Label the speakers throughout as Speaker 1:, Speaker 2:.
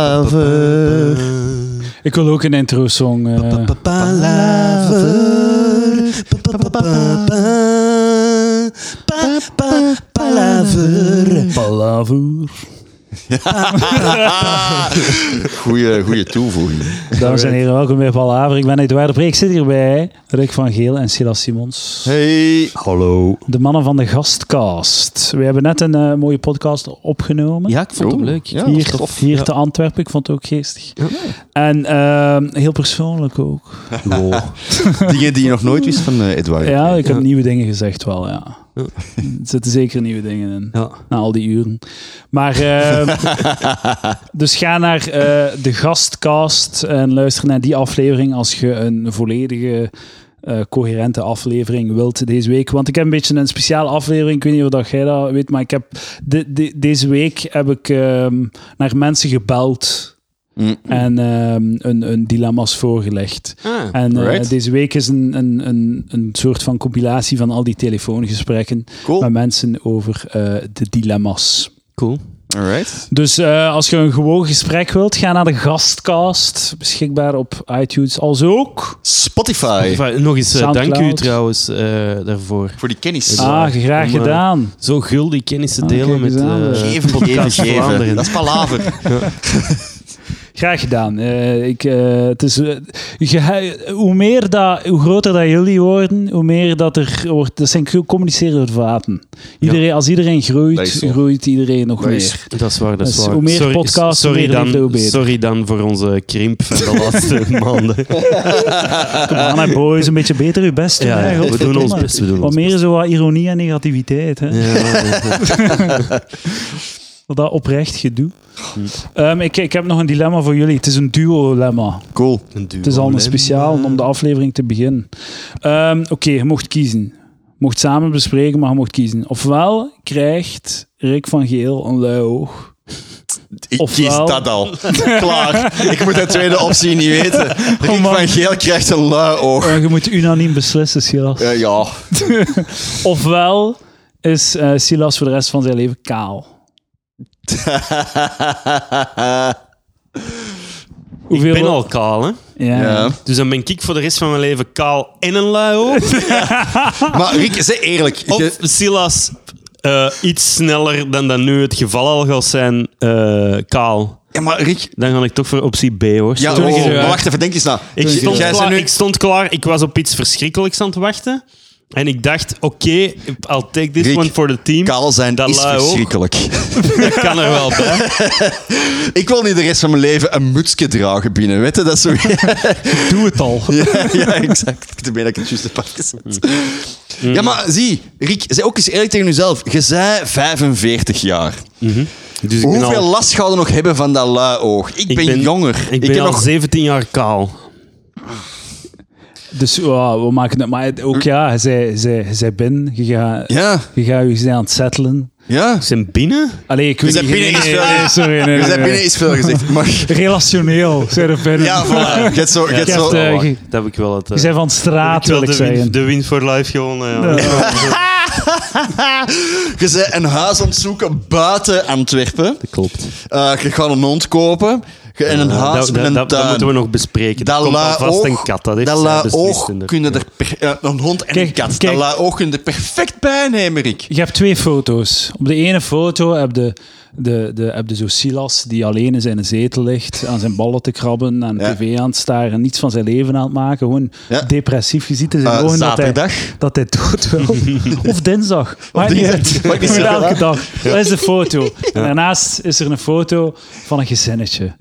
Speaker 1: Palaver.
Speaker 2: Ik wil ook een intro-song. eh.
Speaker 1: Palaver. Palaver. Goeie, goeie toevoeging.
Speaker 2: Dames en heren, welkom bij Palaver. Ik ben Eduard de Breek. Ik zit hierbij Rick van Geel en Silas Simons.
Speaker 1: Hey. Hallo.
Speaker 2: De mannen van de gastcast. We hebben net een eh, mooie podcast opgenomen.
Speaker 3: Ja, ik vond hem leuk.
Speaker 1: Ja,
Speaker 2: hier
Speaker 1: was tof.
Speaker 2: hier te Antwerpen. Ik vond het ook geestig. En ehm, heel persoonlijk ook.
Speaker 1: Dingen die je nog nooit wist van eh, Edouard.
Speaker 2: Ja, ik heb
Speaker 3: ja.
Speaker 2: nieuwe dingen gezegd wel, ja.
Speaker 3: Ja.
Speaker 2: Er zitten zeker nieuwe dingen in.
Speaker 3: Ja.
Speaker 2: Na al die uren. Maar, eh, dus ga naar eh, de gastcast en luister naar die aflevering als je een volledige, eh, coherente aflevering wilt deze week. Want ik heb een beetje een speciale aflevering, ik weet niet of dat jij dat weet, maar ik heb de, de- deze week heb ik ehm, naar mensen gebeld
Speaker 1: Mm.
Speaker 2: en ehm, een, een dilemma's voorgelegd.
Speaker 3: Ah,
Speaker 2: En eh,
Speaker 1: Alright.
Speaker 2: deze week is een, een, een, een soort van compilatie van al die telefoongesprekken
Speaker 1: Cool.
Speaker 2: met mensen over eh, de dilemma's.
Speaker 3: cool.
Speaker 1: Alright.
Speaker 2: Dus eh, als je een gewoon gesprek wilt, ga naar de gastcast, beschikbaar op iTunes als ook.
Speaker 1: Spotify.
Speaker 3: Enfin, nog eens, eh,
Speaker 2: Soundcloud.
Speaker 3: dank u trouwens eh, daarvoor.
Speaker 1: Voor die kennis.
Speaker 3: Ah,
Speaker 2: Ah, graag
Speaker 1: eh,
Speaker 3: maar-
Speaker 2: gedaan.
Speaker 3: Zo gul die kennis te
Speaker 2: Ah,
Speaker 3: delen
Speaker 2: kijk
Speaker 3: met...
Speaker 2: eens aan,
Speaker 3: eh,
Speaker 2: eh.
Speaker 1: Geven, geven,
Speaker 3: podcast
Speaker 1: geven.
Speaker 3: Vlaanderen.
Speaker 1: Dat is palaver.
Speaker 2: Graag gedaan. Eh, ik, eh, het is, eh, gehe- hoe, meer dat, hoe groter dat jullie worden, hoe meer dat er wordt. Dat zijn communicerende vaten. Iedereen, Als iedereen
Speaker 1: Dat
Speaker 2: groeit,
Speaker 1: is zo.
Speaker 2: groeit iedereen nog
Speaker 1: Dat
Speaker 2: meer.
Speaker 1: is-
Speaker 3: Dat is waar, dat is
Speaker 2: Dus
Speaker 3: waar.
Speaker 2: hoe meer
Speaker 3: sorry,
Speaker 2: podcasts, hoe
Speaker 3: sorry,
Speaker 2: meer liefde, hoe
Speaker 3: dan,
Speaker 2: beter.
Speaker 3: sorry dan voor onze krimp van de laatste maanden.
Speaker 2: Kom aan, hè, boys, een beetje beter uw best doen.
Speaker 3: Ja,
Speaker 2: hè,
Speaker 3: ja, we
Speaker 2: godverdomme.
Speaker 3: doen ons best, we doen
Speaker 2: Wat
Speaker 3: ons
Speaker 2: meer zo wat ironie en negativiteit. Hè?
Speaker 3: Ja, ja. Hm.
Speaker 2: Dat oprecht gedoe. Ehm, ik, ik heb nog een dilemma voor jullie. Het is een duo-lemma.
Speaker 1: Cool.
Speaker 3: Een duo,
Speaker 2: Het is al
Speaker 3: hè.
Speaker 2: een speciaal om de aflevering te beginnen. Ehm, Oké, je mocht kiezen. Je mocht samen bespreken, maar je mocht kiezen. Ofwel krijgt Rick van Geel een lui oog.
Speaker 1: Ik
Speaker 2: Ofwel-
Speaker 1: kies dat al. Klaar. Ik moet de tweede optie niet weten. Rick
Speaker 2: Oh, man.
Speaker 1: van Geel krijgt een lui oog.
Speaker 2: Eh, je moet unaniem beslissen, Silas.
Speaker 1: Eh, ja.
Speaker 2: Ofwel is eh, Silas voor de rest van zijn leven kaal.
Speaker 3: Ik ben al kaal, hè?
Speaker 2: Ja.
Speaker 1: ja.
Speaker 3: Dus dan ben ik voor de rest van mijn leven kaal en een lui oog. Ah.
Speaker 1: Maar Rick, zeg eerlijk.
Speaker 3: Of
Speaker 1: je-
Speaker 3: Silas eh, iets sneller dan dat nu het geval al gaat zijn, eh, kaal.
Speaker 1: ja, maar Rick...
Speaker 3: Dan ga ik toch voor optie B, hoor.
Speaker 1: Ja,
Speaker 2: Tuurlijk is
Speaker 1: oh,
Speaker 2: het
Speaker 1: maar
Speaker 2: waar.
Speaker 1: wacht even, denk eens na.
Speaker 3: eh, Ik
Speaker 1: Jij
Speaker 3: stond,
Speaker 1: zei
Speaker 3: klaar,
Speaker 1: nu-
Speaker 3: ik stond klaar, ik was op iets verschrikkelijks aan het wachten. En ik dacht, oké, I'll take this
Speaker 1: Rick,
Speaker 3: one for the team.
Speaker 1: Kaal zijn
Speaker 3: Dat
Speaker 1: is
Speaker 3: lui ook.
Speaker 1: verschrikkelijk.
Speaker 3: Dat kan er wel bij.
Speaker 1: Ik wil niet de rest van mijn leven een mutsje dragen binnen. Weet je, dat is zo...
Speaker 2: Doe het al.
Speaker 3: Dus
Speaker 1: ja, ja, exact. Ik ben blij dat ik het juist heb afgezet. Ja, maar zie, Rick, zeg ook eens eerlijk tegen jezelf. Je bent 45 jaar.
Speaker 3: Dus ik ben
Speaker 1: Hoeveel
Speaker 3: al,
Speaker 1: last gaan we nog hebben van dat lui oog? Ik, ben, jonger.
Speaker 3: Ik ben
Speaker 1: heb
Speaker 3: al
Speaker 1: nog
Speaker 3: 17 jaar kaal.
Speaker 2: Dus ja, we maken het. Maar het- ook ja, zij, zij, zij ben. Je gaat
Speaker 1: Ja,
Speaker 2: je, gaat je zijn aan het settelen.
Speaker 1: ja.
Speaker 3: Ik ben binnen.
Speaker 2: Allee, ik weet
Speaker 1: zijn
Speaker 2: niet.
Speaker 1: binnen
Speaker 2: nee,
Speaker 1: is
Speaker 2: nee,
Speaker 1: veel,
Speaker 2: nee,
Speaker 1: hè?
Speaker 2: sorry, nee,
Speaker 1: Je
Speaker 2: nee,
Speaker 1: bent
Speaker 2: nee.
Speaker 1: binnen is veel gezegd. Maar
Speaker 2: Relationeel, zij er binnen.
Speaker 1: ja, voilà. Je hebt zo... Je hebt
Speaker 2: Je hebt,
Speaker 1: zo
Speaker 2: eh,
Speaker 3: Oh, wacht,
Speaker 2: ge-
Speaker 3: dat heb ik wel het...
Speaker 2: je
Speaker 3: eh,
Speaker 2: zijn van straat,
Speaker 3: ik wil
Speaker 2: wil ik
Speaker 3: de, win,
Speaker 2: zeggen.
Speaker 3: de win for life gewonnen. eh, Ja.
Speaker 1: je bent een huis aan het zoeken buiten Antwerpen.
Speaker 3: Dat klopt.
Speaker 1: Eh, je gaat een hond kopen. Je- en een
Speaker 3: Ja,
Speaker 1: haas
Speaker 3: dat,
Speaker 1: met een
Speaker 3: dat- dat, dat
Speaker 1: tuin.
Speaker 3: moeten we nog bespreken. Dat, komt
Speaker 1: la
Speaker 3: alvast
Speaker 1: oog-
Speaker 3: een kat. Dat heeft
Speaker 1: dat
Speaker 3: zij
Speaker 1: la
Speaker 3: beslist
Speaker 1: oog
Speaker 3: in de-
Speaker 1: kunnen er per- eh, een hond en
Speaker 2: Kijk,
Speaker 1: een kat.
Speaker 2: kijk.
Speaker 1: Dat la oog kunnen er perfect bij nemen, Rick.
Speaker 2: Je hebt twee foto's. Op de ene foto heb je, de, de, heb je zo Silas, die alleen in zijn zetel ligt, aan zijn ballen te krabben, aan de
Speaker 1: Ja.
Speaker 2: tv aan het staren, niets van zijn leven aan het maken. Gewoon
Speaker 1: Ja.
Speaker 2: depressief. Je ziet in zijn
Speaker 1: Eh,
Speaker 2: ogen dat hij,
Speaker 1: zaterdag.
Speaker 2: dat hij dood wil. of dinsdag. Maar niet
Speaker 1: dinsdag.
Speaker 2: uit.
Speaker 1: Maakt niet
Speaker 2: Gewoon
Speaker 1: uit.
Speaker 2: elke dag. Dat is de foto. En daarnaast is er een foto van een gezinnetje.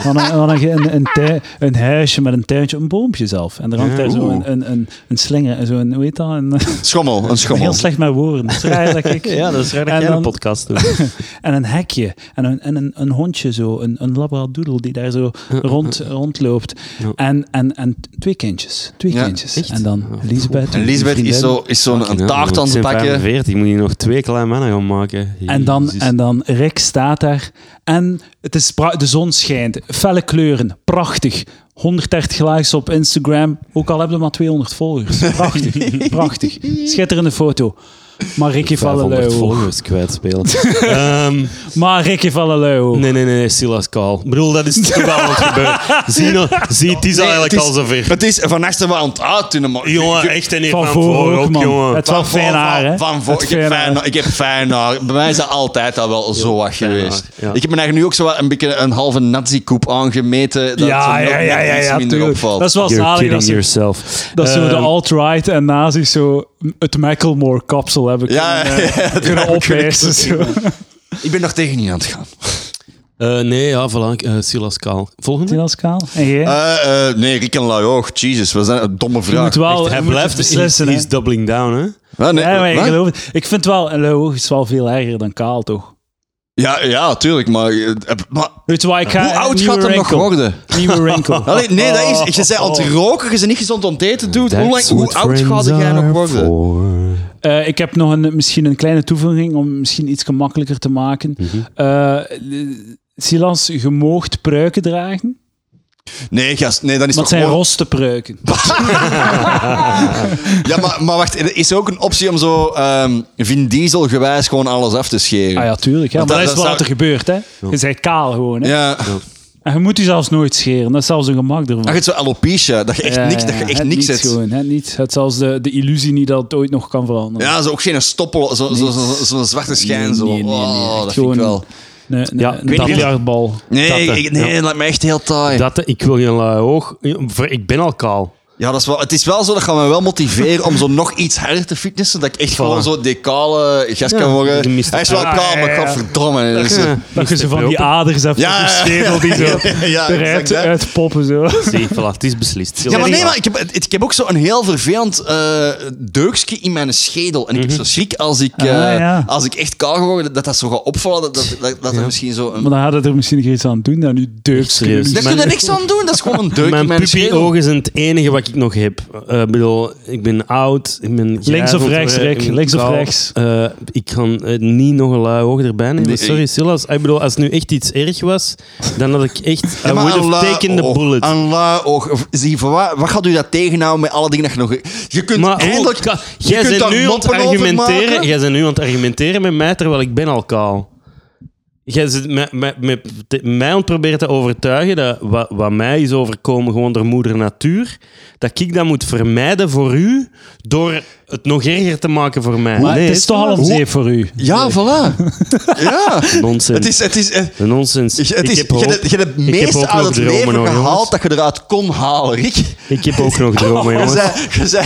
Speaker 2: Van, een, van een, ge- een, een, tui- een huisje met een tuintje, een boompje zelf. En er hangt daar zo
Speaker 1: Oeh.
Speaker 2: een, een, een, een slinger, zo'n, hoe heet dat? Een,
Speaker 1: Schommel, een schommel.
Speaker 2: Heel slecht met woorden. Dat is raar dat ik.
Speaker 3: Ja, dat is raar dat
Speaker 2: En
Speaker 3: jij
Speaker 2: dan-
Speaker 3: een podcast doet.
Speaker 2: En een hekje. En een, en een, een hondje zo. Een, een labradoodle die daar zo rond, rondloopt.
Speaker 3: Ja.
Speaker 2: En, en, en twee kindjes. Twee
Speaker 1: Ja,
Speaker 2: kindjes.
Speaker 3: echt?
Speaker 2: En dan
Speaker 3: Ja.
Speaker 2: Elisabeth.
Speaker 1: En Lisbeth is zo'n is zo een taart aan het
Speaker 3: Ik
Speaker 1: pakken.
Speaker 3: ben 45, moet je nog twee kleine mannen gaan maken.
Speaker 2: En dan,
Speaker 3: Jezus.
Speaker 2: en dan Rick staat daar. En het is pra- de zon schijnt. Felle kleuren. Prachtig. 130 likes op Instagram. Ook al hebben we maar 200 volgers. Prachtig. prachtig. Schitterende foto. Maar Ricky Valleluil.
Speaker 3: volgers kwijtspelen. Ehm
Speaker 2: Maar Ricky Valleluil.
Speaker 3: nee, nee, nee, nee, Silas Kaal. Ik bedoel, dat is toch wel aan het gebeuren. Zie, nou- zie, het is
Speaker 1: Nee,
Speaker 3: eigenlijk
Speaker 1: het is-
Speaker 3: al zover.
Speaker 1: Het is van achter wel aan het uittunen, maar...
Speaker 3: Jongen, echt en hier
Speaker 2: Van
Speaker 3: van
Speaker 2: voor
Speaker 3: voor
Speaker 2: ook,
Speaker 3: ook,
Speaker 2: man.
Speaker 3: jongen.
Speaker 2: Het- is wel
Speaker 1: voor-
Speaker 2: fijn haar, hè?
Speaker 1: Van voor,
Speaker 2: Het
Speaker 1: ik, heb
Speaker 2: fijn
Speaker 1: fijn
Speaker 2: haar.
Speaker 1: haar. ik heb fijn haar. Bij mij is dat altijd al wel zo wat
Speaker 3: fijn
Speaker 1: geweest.
Speaker 3: haar, ja.
Speaker 1: Ik heb me daar nu ook zo wat een beetje een halve nazi-koep aangemeten. Dat
Speaker 2: ja,
Speaker 1: het
Speaker 2: ja,
Speaker 1: nog
Speaker 2: ja,
Speaker 1: net
Speaker 2: ja,
Speaker 1: iets
Speaker 2: ja,
Speaker 1: minder
Speaker 2: tuurlijk.
Speaker 1: opvalt.
Speaker 2: Dat is wel
Speaker 3: You're
Speaker 2: zalig.
Speaker 3: kidding
Speaker 2: Dat, ze-
Speaker 3: yourself.
Speaker 2: dat zo de
Speaker 3: Ehm,
Speaker 2: alt-right en nazi's zo het Macklemore-kapsel hebben
Speaker 1: Ja,
Speaker 2: kunnen, eh,
Speaker 1: ja, dat
Speaker 2: kunnen
Speaker 1: heb ik kunnen
Speaker 2: opeisen. Zo.
Speaker 1: Ik ben nog tegen je aan het gaan.
Speaker 3: eh, nee, ja, voilà. ik- eh, Silas Kaal. Volgende?
Speaker 2: Silas Kaal? En jij?
Speaker 1: Eh, eh, nee, Rick en Lajoog, Jesus, was dat een domme
Speaker 2: je
Speaker 1: vraag.
Speaker 2: moet wel,
Speaker 3: Hij
Speaker 2: je moet
Speaker 3: blijft
Speaker 2: het beslissen.
Speaker 3: Hij
Speaker 2: hè.
Speaker 3: is doubling down, hè?
Speaker 1: Ah, nee,
Speaker 2: Ja, maar ik,
Speaker 1: wat?
Speaker 2: geloof het. ik vind wel, een Leo is wel veel erger dan Kaal, toch?
Speaker 1: ja, ja, tuurlijk, maar... eh, maar
Speaker 2: Weet je wat, ik ga...
Speaker 1: hoe oud
Speaker 2: nieuwe
Speaker 1: gaat hem nog
Speaker 2: wrinkle.
Speaker 1: worden?
Speaker 2: Nieuwe Oh. wrinkle.
Speaker 1: Allee, nee, dat is... Je zei aan het roken, je bent niet gezond aan het eten, dude. Hoe, lang,
Speaker 3: Oh. That's
Speaker 1: hoe
Speaker 3: what
Speaker 1: oud gaat
Speaker 3: friends
Speaker 1: jij nog
Speaker 3: are
Speaker 1: worden?
Speaker 3: for.
Speaker 2: Eh, ik heb nog een, misschien een kleine toevoeging om misschien iets gemakkelijker te maken.
Speaker 1: Mhm.
Speaker 2: Eh, Silas, je moogt pruiken dragen,
Speaker 1: Nee, gast, nee, dan is
Speaker 2: maar het
Speaker 1: het
Speaker 2: zijn
Speaker 1: nog...
Speaker 2: roste pruiken.
Speaker 1: Ja, maar, maar wacht, er is ook een optie om zo ehm Vin Diesel gewijs gewoon alles af te scheren.
Speaker 2: Ah ja, tuurlijk. Ja, maar
Speaker 1: Want
Speaker 2: dat, is
Speaker 1: dat- dat
Speaker 2: wel
Speaker 1: zou-
Speaker 2: wat er gebeurt, hè. Je bent kaal gewoon, hè.
Speaker 1: Ja.
Speaker 2: En je moet je zelfs nooit scheren. Dat is zelfs een gemak ervan.
Speaker 1: Dan gaat zo alopecia, dat je Ah, echt
Speaker 2: Ja,
Speaker 1: niks,
Speaker 2: ja,
Speaker 1: dat je echt
Speaker 2: het
Speaker 1: niks
Speaker 2: niets
Speaker 1: zet.
Speaker 2: gewoon, hè, niets. Het zelfs de, de illusie niet dat het ooit nog kan veranderen.
Speaker 1: Ja, zo ook geen stoppel, zo'n zo, zo, zo, zo'n zwarte schijn.
Speaker 2: Nee,
Speaker 1: zo.
Speaker 2: nee, nee, nee,
Speaker 1: Oh,
Speaker 2: echt
Speaker 1: dat vind ik
Speaker 2: gewoon- eh,
Speaker 1: wel.
Speaker 2: Nee, nee,
Speaker 3: Ja,
Speaker 2: een
Speaker 3: ik weet niet-
Speaker 2: biljartbal.
Speaker 1: Eh, Nee,
Speaker 3: Dat,
Speaker 1: ik, nee
Speaker 3: ja.
Speaker 1: laat me echt heel taai.
Speaker 3: Dat, ik wil geen lui oog. Ik ben al kaal.
Speaker 1: Ja, dat is wel, het is wel zo, dat gaat me wel motiveren om zo nog iets harder te fitnessen, dat ik echt gewoon zo decale gast
Speaker 3: Ja, die
Speaker 1: kan worden.
Speaker 3: mist-
Speaker 1: Hij is wel
Speaker 2: Ja,
Speaker 1: kaal,
Speaker 2: Ah, ja,
Speaker 1: maar
Speaker 2: ja.
Speaker 1: godverdomme. Dat is zo-
Speaker 2: Dat je zo van die
Speaker 3: open.
Speaker 2: aders hebt
Speaker 1: Ja,
Speaker 2: op je
Speaker 1: ja, ja.
Speaker 2: schedel die zo
Speaker 1: Ja, ja,
Speaker 2: eruit
Speaker 1: exact, hè.
Speaker 2: uitpoppen. Zo.
Speaker 3: Zie, voilà, het is beslist.
Speaker 1: Ja, maar nee, maar ik heb, het- ik heb ook zo'n heel vervelend eh deukje in mijn schedel. En ik heb zo schrik als ik, eh,
Speaker 2: Mhm. Ah, ja.
Speaker 1: als ik echt kaal ga worden, dat dat zo gaat opvallen. Dat, dat, dat, dat er misschien zo een...
Speaker 2: Maar dan hadden er misschien nog iets aan doen dan nu
Speaker 3: Serieus.
Speaker 2: deugd.
Speaker 1: Daar kun je niks aan doen, dat is gewoon een deuk in
Speaker 3: Mijn
Speaker 1: mijn schedel.
Speaker 3: puppy-ogen zijn het enige wat ik nog heb. Eh, Ik bedoel, ik ben oud, ik ben
Speaker 2: Links of
Speaker 3: grijzeld,
Speaker 2: rechts,
Speaker 3: eh,
Speaker 2: Rick?
Speaker 3: ik ben
Speaker 2: Links of
Speaker 3: kaal.
Speaker 2: rechts?
Speaker 3: Eh, ik kan eh, niet nog een lui oog erbij nemen.
Speaker 1: Nee,
Speaker 3: Sorry,
Speaker 1: ik-
Speaker 3: Silas. Ik bedoel, als het nu echt iets erg was, dan had ik echt... I would have taken the bullet.
Speaker 1: oh, Een lui oog. Of, Zie, voor wat, wat gaat u dat tegenhouden met alle dingen dat je nog... Je kunt
Speaker 3: Maar
Speaker 1: eindelijk...
Speaker 3: hoe-
Speaker 1: je
Speaker 3: jij
Speaker 1: kunt
Speaker 3: bent
Speaker 1: daar
Speaker 3: nu aan het
Speaker 1: moppen over
Speaker 3: argumenteren.
Speaker 1: maken.
Speaker 3: Jij bent nu aan het argumenteren met mij terwijl ik ben al kaal. Jij zit met, met, met, te- mij aan het proberen te overtuigen dat wat, wat mij is overkomen gewoon door moeder natuur, dat ik dat moet vermijden voor u door het nog erger te maken voor mij.
Speaker 2: Maar
Speaker 3: nee,
Speaker 2: het is toch al om
Speaker 1: Hoe-
Speaker 2: zeep voor u.
Speaker 1: Ja, voilà. ja.
Speaker 3: nonsens.
Speaker 1: Het is... Het is eh,
Speaker 3: nonsens.
Speaker 1: je- het
Speaker 3: ik
Speaker 1: is,
Speaker 3: heb
Speaker 1: je
Speaker 3: hoop.
Speaker 1: hebt- je hebt het
Speaker 3: Ik heb
Speaker 1: meeste
Speaker 3: ook
Speaker 1: uit
Speaker 3: nog
Speaker 1: het
Speaker 3: dromen
Speaker 1: leven
Speaker 3: hoor, jongens.
Speaker 1: gehaald dat je eruit kon halen, Rick.
Speaker 3: Ik heb ook nog dromen,
Speaker 1: Je
Speaker 3: jongens.
Speaker 1: zei, je zei,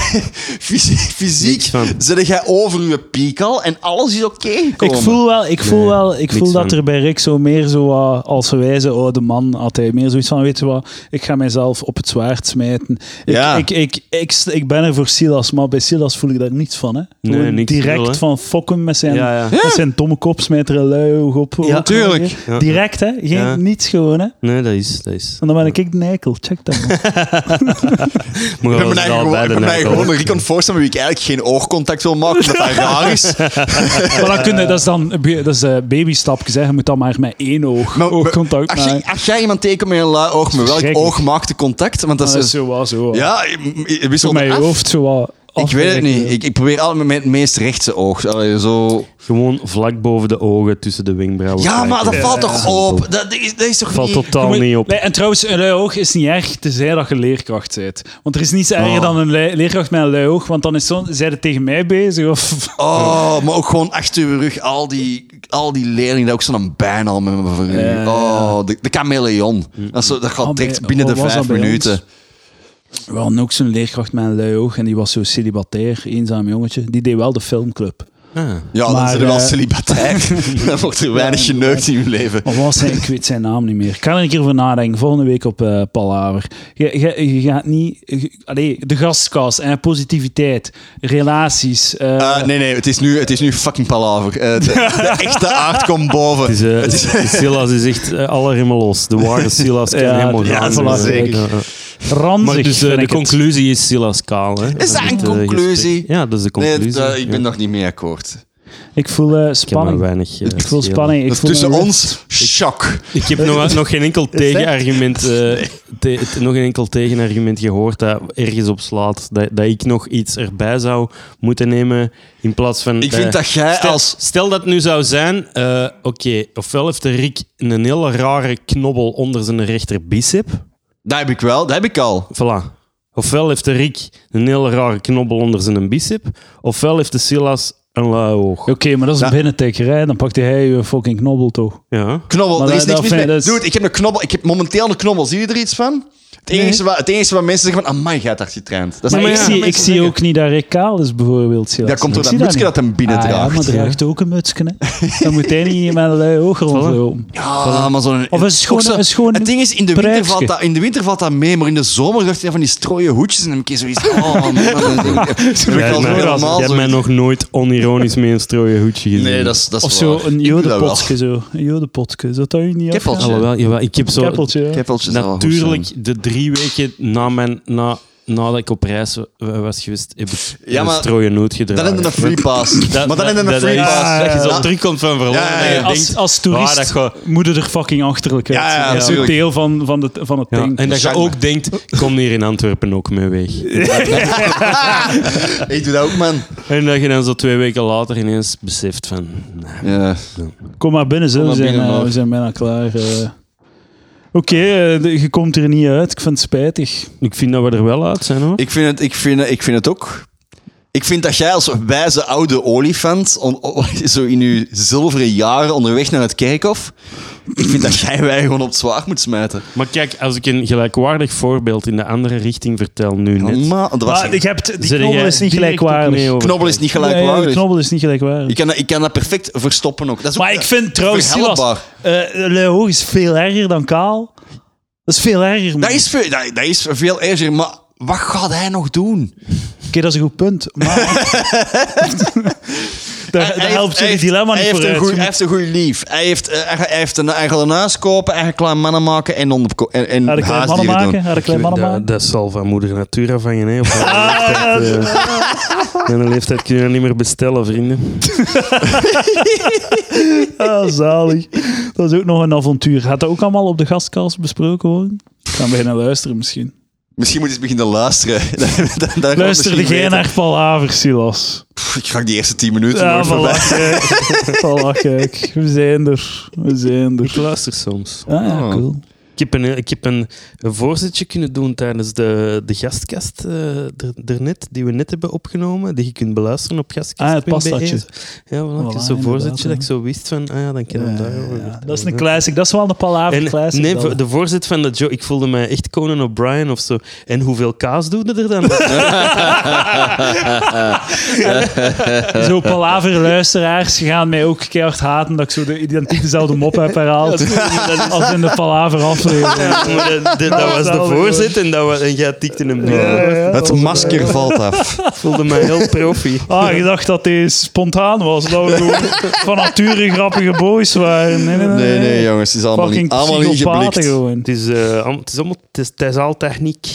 Speaker 1: fysiek, fysiek
Speaker 3: Niks van.
Speaker 1: zit jij over je piek al en alles is oké gekomen.
Speaker 2: Ik voel wel, ik voel
Speaker 3: Nee,
Speaker 2: wel, ik
Speaker 3: niks
Speaker 2: voel dat
Speaker 3: van.
Speaker 2: er bij Rick zo meer zo wat als wijze oude man had hij meer zoiets van, weet je wat, ik ga mijzelf op het zwaard smijten. Ik,
Speaker 1: Ja.
Speaker 2: ik, ik, ik, st- ik ben er voor Silas, maar bij Silas voel ik daar niets van. Hè.
Speaker 3: Nee,
Speaker 2: Gewoon
Speaker 3: niks
Speaker 2: direct
Speaker 3: nul, hè.
Speaker 2: van fokken met zijn,
Speaker 3: Ja, ja.
Speaker 2: Met zijn domme kop, smijt er een lui oog op. ook nog
Speaker 1: tuurlijk.
Speaker 2: een keer.
Speaker 3: Ja.
Speaker 2: Direct, hè. Geen,
Speaker 3: Ja.
Speaker 2: Niets gewoon, hè.
Speaker 3: Nee, dat is... Dat is.
Speaker 2: En dan ben ik ik de eikel. Check dat, man.
Speaker 3: Maar
Speaker 1: Ik ben
Speaker 3: we
Speaker 1: me
Speaker 3: zijn
Speaker 1: eigenlijk
Speaker 3: al
Speaker 1: gewoon,
Speaker 3: bij
Speaker 1: ik
Speaker 3: de
Speaker 1: ben mij
Speaker 3: nek,
Speaker 1: gewoon
Speaker 3: hoor.
Speaker 1: een Rick aan het voorstellen met wie ik eigenlijk geen oogcontact wil maken, omdat dat raar is.
Speaker 2: maar dan kun je, dat is dan dat is een babystapje, hè. Je moet dan maar met één oog,
Speaker 1: Maar-
Speaker 2: oogcontact
Speaker 1: Nou, Als, je,
Speaker 2: maken.
Speaker 1: als jij iemand tekent met een lui oog, met welk
Speaker 2: Verschrikkelijk. Oh,
Speaker 1: oog maakt de contact? Want dat
Speaker 2: Ah, Dat is
Speaker 1: is... dus-
Speaker 2: zo wat, zo wat.
Speaker 1: ja, je- je wisselt
Speaker 2: Zo met je
Speaker 1: af.
Speaker 2: hoofd zo wat
Speaker 1: Ik weet het
Speaker 2: afwerken.
Speaker 1: niet. Ik, ik probeer altijd met het meest rechtse oog. Allee, zo.
Speaker 3: Gewoon vlak boven de ogen, tussen de wenkbrauwen.
Speaker 1: Ja, maar dat
Speaker 3: kijken.
Speaker 1: valt toch
Speaker 3: simpel.
Speaker 1: op? Dat, is, dat is toch
Speaker 3: Valt
Speaker 1: niet...
Speaker 3: totaal
Speaker 2: Je moet-
Speaker 3: niet op.
Speaker 2: Nee, en trouwens, een lui oog is niet erg, tenzij dat je leerkracht bent. Want er is niets erger
Speaker 3: Oh.
Speaker 2: dan een lui- leerkracht met een lui oog, want dan is zo'n... Zij het tegen mij bezig of...
Speaker 1: Oh, maar ook gewoon achter uw rug, al die, al die leerlingen, dat ook zo'n bijna al met me voor u.
Speaker 2: Ja.
Speaker 1: Oh, de, de chameleon. Dat, is zo- dat gaat
Speaker 2: Oh,
Speaker 1: direct
Speaker 2: bij-
Speaker 1: binnen de
Speaker 2: wat was
Speaker 1: vijf
Speaker 2: dat bij
Speaker 1: minuten.
Speaker 2: We hadden ook zo'n leerkracht met een lui oog en die was zo celibatair, eenzaam jongetje. Die deed wel de filmclub.
Speaker 3: Ah.
Speaker 1: Ja,
Speaker 2: Maar,
Speaker 1: dan zijn we
Speaker 2: eh,
Speaker 1: al celibatair. dan wordt er weinig geneukt in uw leven.
Speaker 2: Maar wat was hij? Ik weet zijn naam niet meer. Ik kan er een keer over nadenken. Volgende week op eh Palaver. Je, je, je gaat niet... je- allee, de gastkast en positiviteit, relaties... eh,
Speaker 1: Eh, nee, nee, het is nu, het is nu fucking palaver. Eh, de, de echte aard komt boven.
Speaker 3: Dus, eh, Silas is echt eh, alle helemaal los. De ware Silas kan
Speaker 2: Ja,
Speaker 3: helemaal
Speaker 2: ja,
Speaker 3: gaan.
Speaker 2: voilà, zeker. ranzig,
Speaker 3: Maar dus eh,
Speaker 2: vind
Speaker 3: de
Speaker 2: ik het.
Speaker 3: conclusie is Silas kaal. Hè?
Speaker 1: dat
Speaker 3: het,
Speaker 1: een
Speaker 3: eh,
Speaker 1: conclusie?
Speaker 3: gesprek. Ja, dat is de
Speaker 1: nee,
Speaker 3: conclusie.
Speaker 1: eh, ik ben
Speaker 3: Ja.
Speaker 1: nog niet mee akkoord.
Speaker 2: Ik voel eh,
Speaker 3: Ik heb maar
Speaker 2: spanning. Ik,
Speaker 3: weinig... eh,
Speaker 2: voel
Speaker 3: schelen.
Speaker 2: spanning. Ik
Speaker 1: Dat is
Speaker 2: voel
Speaker 1: tussen
Speaker 2: een-
Speaker 1: ons, shock.
Speaker 3: Ik heb nog, nog geen enkel tegenargument, eh, te- het- nog geen enkel tegenargument gehoord dat ergens op slaat. Dat, dat ik nog iets erbij zou moeten nemen in plaats van... eh,
Speaker 1: Ik
Speaker 2: eh,
Speaker 1: vind dat jij
Speaker 3: stel,
Speaker 1: als...
Speaker 3: Stel dat het nu zou zijn, eh, oké, ofwel heeft de Rick een hele rare knobbel onder zijn rechterbicep.
Speaker 1: Dat heb ik wel, dat heb ik al.
Speaker 3: Voilà. Ofwel heeft de Rick een hele rare knobbel onder zijn bicep. Ofwel heeft de Silas een lui oog.
Speaker 2: Oké, maar dat is een
Speaker 1: Nou.
Speaker 2: binnentekker, hè? Dan pakte hij je fucking knobbel toch?
Speaker 3: Ja.
Speaker 1: Knobbel,
Speaker 2: Maar
Speaker 1: er is
Speaker 2: dat-
Speaker 1: niks
Speaker 2: dat
Speaker 1: mis
Speaker 2: vind
Speaker 1: mee.
Speaker 2: ik dus-
Speaker 1: Dude, ik heb een knobbel. Ik heb momenteel een knobbel. Zie je er iets van? Het enige, wat, het enige wat mensen zeggen van, amai, jij hebt hard getraind. Dat is
Speaker 2: Maar,
Speaker 1: het
Speaker 2: ik,
Speaker 1: enige
Speaker 3: ja,
Speaker 1: wat
Speaker 2: zie, ik
Speaker 1: mensen
Speaker 2: zie
Speaker 1: zeggen.
Speaker 2: ook niet dat Rick kaal is, bijvoorbeeld. Silas.
Speaker 1: Dat komt
Speaker 2: Ik
Speaker 1: door dat
Speaker 2: zie
Speaker 1: mutsje dat hem binnen
Speaker 2: Ah, ja, maar
Speaker 1: draagt.
Speaker 2: draagt ook een mutsje, hè? Dan moet hij niet met een lui oog rondlopen.
Speaker 1: Ja, Ah, maar zo'n...
Speaker 2: Of een schone-
Speaker 1: ook zo-
Speaker 2: een schone
Speaker 1: Het ding is, in de, winter
Speaker 2: pruikske.
Speaker 1: valt dat, in de winter valt dat mee, maar in de zomer dacht je van die strooie hoedjes en dan heb ik zoiets... Oh, man. dat is- dat heb ik
Speaker 3: Jij
Speaker 1: al
Speaker 3: hebt mij-
Speaker 1: helemaal
Speaker 3: jij hebt
Speaker 1: zo-
Speaker 3: mij nog nooit onironisch mee een strooien hoedje gezien.
Speaker 1: Nee, dat is, dat is
Speaker 2: Of zo
Speaker 1: waar.
Speaker 2: een
Speaker 1: Ik doe dat wel.
Speaker 2: jodenpotje, zo. Een jodenpotje. Zou dat u niet
Speaker 1: Keppeltje.
Speaker 2: afgaan?
Speaker 3: Alhoewel, jawel, ik heb zo...
Speaker 2: Keppeltje, ja.
Speaker 1: Keppeltjes zal wel goed zijn.
Speaker 3: Natuurlijk, de drie weken na mijn, na, nadat ik op reis wa- was geweest, heb ik
Speaker 1: Ja,
Speaker 3: een
Speaker 1: maar-
Speaker 3: strooien noot
Speaker 1: Dan
Speaker 3: gedragen.
Speaker 1: hebben we een free pass. Maar dan hebben we een free
Speaker 3: dat-
Speaker 1: pass.
Speaker 3: Dat je zo
Speaker 1: Ja.
Speaker 3: terugkomt van verloren
Speaker 1: Ja, ja,
Speaker 3: en je
Speaker 1: ja.
Speaker 2: Als,
Speaker 3: denkt...
Speaker 2: als
Speaker 3: "Ah, dat
Speaker 2: toerist
Speaker 3: gaat-
Speaker 2: moet je er fucking achterlijk uit.
Speaker 1: Ja, ja,
Speaker 2: dat is ook
Speaker 1: natuurlijk.
Speaker 2: deel van, van, de, van het
Speaker 3: Ja,
Speaker 2: ding.
Speaker 3: en dat je
Speaker 1: Schijnbaar.
Speaker 3: ook denkt, ik kom hier in Antwerpen ook mee weg.
Speaker 1: Ik doe dat ook, man.
Speaker 3: En dat je dan zo twee weken later ineens beseft van... nee.
Speaker 1: Ja.
Speaker 2: Kom maar binnen, zo.
Speaker 1: Kom
Speaker 2: We
Speaker 1: maar
Speaker 2: zijn,
Speaker 1: binnen,
Speaker 2: eh,
Speaker 1: maar.
Speaker 2: we zijn bijna klaar. eh. Oké, eh, de- je komt er niet uit. Ik vind het spijtig.
Speaker 3: Ik vind dat we er wel uit zijn, hoor.
Speaker 1: Ik vind het, ik vind, het- ik vind het ook. Ik vind dat jij als wijze oude olifant, on- on- zo in je zilveren jaren onderweg naar het kerkhof, ik vind dat jij wij gewoon op het zwaar moet smijten.
Speaker 3: Maar kijk, als ik een gelijkwaardig voorbeeld in de andere richting vertel nu net...
Speaker 1: Maar, dat was,
Speaker 2: Maar je hebt, die
Speaker 3: zit jij
Speaker 2: knobbel is niet
Speaker 3: direct
Speaker 2: gelijkwaardig.
Speaker 3: opnieuw over-
Speaker 1: knobbel is niet
Speaker 2: Nee, de
Speaker 1: gelijkwaardig.
Speaker 2: knobbel is niet gelijkwaardig.
Speaker 1: ik, kan dat, ik kan dat perfect verstoppen ook. Dat is ook
Speaker 2: maar ik vind trouwens, Silas,
Speaker 1: verhelpbaar.
Speaker 2: eh, lui hoog is veel erger dan kaal. Dat is veel erger. man.
Speaker 1: Dat is, veel, dat, dat is veel erger, maar wat gaat hij nog doen?
Speaker 2: Oké, dat is een goed punt. Maar... dat, dat
Speaker 1: Hij heeft-
Speaker 2: helpt
Speaker 1: hij
Speaker 2: je
Speaker 1: heeft-
Speaker 2: dilemma niet
Speaker 1: hij heeft een
Speaker 2: vooruit.
Speaker 1: goeie- Hij
Speaker 2: jongen.
Speaker 1: heeft een goede lief. Hij, heeft, eh, hij, hij heeft een, hij gaat een huis kopen, hij gaat kleine mannen maken en, onder, en, en
Speaker 2: Had ik klein mannen
Speaker 1: huisdieren doen.
Speaker 2: maken? Had ik klein mannen
Speaker 3: Dat,
Speaker 2: maken?
Speaker 3: dat zal van moeder natuur afhangen. Hè? Op mijn leeftijd, eh. Mijn leeftijd kun je dat niet meer bestellen, vrienden.
Speaker 2: Ah, zalig. Dat is ook nog een avontuur. Gaat dat ook allemaal op de gastkast besproken worden? Ik ga bijna luisteren misschien.
Speaker 1: Misschien moet je eens beginnen luisteren. Dan- dan- dan gaan we
Speaker 2: Luister jij
Speaker 1: misschien weten.
Speaker 2: naar Paul Haver, Silas?
Speaker 1: Pff, Ik ga die eerste 10 minuten
Speaker 2: Ja,
Speaker 1: nooit voorbij.
Speaker 2: voilà, kijk. Voilà, kijk. We zijn er. We zijn
Speaker 3: Ik
Speaker 2: er.
Speaker 3: luister soms.
Speaker 2: Ah, ja,
Speaker 1: Oh.
Speaker 2: cool.
Speaker 3: Ik heb een, ik heb een, een voorzetje kunnen doen tijdens de, de gastkast eh, er- daarnet, die we net hebben opgenomen, die je kunt beluisteren op gastkast. E.
Speaker 2: Ah, het pastatje.
Speaker 3: Ja,
Speaker 2: Voilà,
Speaker 3: voilà, ik heb zo'n
Speaker 2: inderdaad,
Speaker 3: voorzetje dat
Speaker 2: hè.
Speaker 3: ik zo wist van, ah ja, dan kan ik
Speaker 2: Ja,
Speaker 3: daar
Speaker 2: ja, ja. Dat is een classic. Dat is wel een Paul Haver classic.
Speaker 3: En, nee,
Speaker 2: dan.
Speaker 3: voor- de voorzet van de Joe, ik voelde mij echt Conan O'Brien of zo. En hoeveel kaas doe je er dan?
Speaker 2: Zo palaver luisteraars gaan mij ook keihard haten dat ik zo de identiek dezelfde mop heb herhaald als in de palaver aflevering.
Speaker 3: Ja, maar dat, dat- dat was de
Speaker 2: Hetzelfde
Speaker 3: voorzit en, dat was, en jij tikte hem binnen.
Speaker 1: Het masker valt af.
Speaker 3: Ik voelde mij heel profi.
Speaker 2: Ah, je dacht dat deze spontaan was. Dat we gewoon van nature grappige boys waren. Nee, nee, nee.
Speaker 1: Nee, nee, jongens. Het is allemaal
Speaker 2: Fucking
Speaker 1: niet, allemaal niet
Speaker 2: psychopaten
Speaker 1: geblikt.
Speaker 2: gewoon.
Speaker 3: Het is, eh, am- het is allemaal het is, het is al techniek.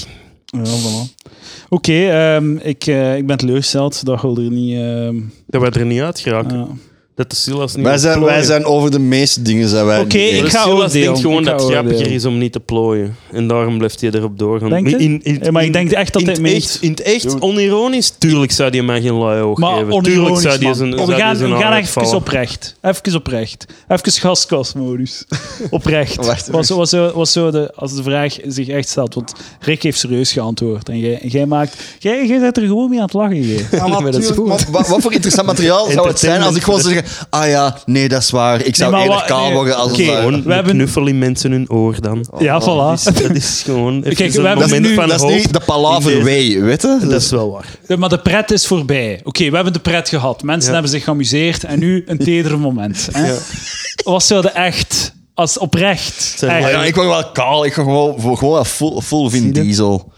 Speaker 2: Ja, voilà. Oké, ehm, ik, eh, ik ben teleurgesteld. Dat wil er niet... ehm,
Speaker 3: Dat we er niet uit geraken.
Speaker 2: ja.
Speaker 3: Dat de Silas niet
Speaker 1: Wij
Speaker 3: wil
Speaker 1: zijn, wij
Speaker 3: plooien.
Speaker 1: zijn over de meeste dingen zijn wij
Speaker 2: Oké,
Speaker 1: niet
Speaker 2: ik
Speaker 1: eens.
Speaker 2: ga
Speaker 3: de Silas
Speaker 2: oordelen.
Speaker 3: denkt gewoon
Speaker 2: Ik ga
Speaker 3: dat het grappiger
Speaker 2: oordelen.
Speaker 3: is om niet te plooien. En daarom blijft hij erop doorgaan.
Speaker 2: Denk je? Ja, maar ik denk echt dat
Speaker 3: in
Speaker 2: hij
Speaker 3: het
Speaker 2: meent.
Speaker 3: echt, In het echt, onironisch, tuurlijk zou die mij geen lui oog
Speaker 2: Maar
Speaker 3: geven. Tuurlijk
Speaker 2: onironisch,
Speaker 3: zou die
Speaker 2: man.
Speaker 3: zijn, zou
Speaker 2: we
Speaker 3: die
Speaker 2: gaan,
Speaker 3: zijn
Speaker 2: we gaan
Speaker 3: haar
Speaker 2: even
Speaker 3: uitvallen.
Speaker 2: oprecht. Even oprecht. Even gaskastmodus.
Speaker 1: Wacht
Speaker 2: Oprecht.
Speaker 1: even.
Speaker 2: was, zo- was, zo- was zo de, als de vraag zich echt stelt. Want Rick heeft serieus geantwoord. En jij, jij maakt... Jij, jij bent er gewoon mee aan het lachen. Jij.
Speaker 1: Ja, maar
Speaker 2: Maar dat is
Speaker 1: tuurlijk,
Speaker 2: goed.
Speaker 1: maar wa- wat voor interessant materiaal zou het zijn als ik gewoon zou zeggen: Ah ja, nee, dat is waar. Ik zou
Speaker 2: maar
Speaker 1: eerder
Speaker 2: wat-
Speaker 1: kaal
Speaker 2: nee,
Speaker 1: worden als
Speaker 2: oké,
Speaker 1: een
Speaker 3: Gewoon
Speaker 2: We
Speaker 1: luier."
Speaker 3: we
Speaker 2: hebben-
Speaker 3: hebben knuffel in mensen hun oor dan.
Speaker 2: ja,
Speaker 1: dat
Speaker 2: voilà.
Speaker 1: is-
Speaker 3: Dat is gewoon even
Speaker 2: Kijk,
Speaker 3: een
Speaker 2: we hebben
Speaker 1: Dat is
Speaker 3: moment
Speaker 1: nu,
Speaker 3: van
Speaker 1: dat is
Speaker 3: hoop.
Speaker 1: nu de palaver
Speaker 3: in
Speaker 1: way, weet je? Dus-
Speaker 3: Dat
Speaker 1: Dat is-
Speaker 3: is wel waar.
Speaker 2: Ja, Maar de pret is voorbij. Oké, we hebben de pret gehad. Mensen
Speaker 3: Ja.
Speaker 2: hebben zich geamuseerd. En nu een teder moment. Hè? Wat zouden echt... Als oprecht.
Speaker 3: Zijn
Speaker 2: echt-
Speaker 1: Ja, ik word wel kaal. Ik ga gewoon, voor- gewoon wel full, full Vin
Speaker 3: je?
Speaker 1: Diesel.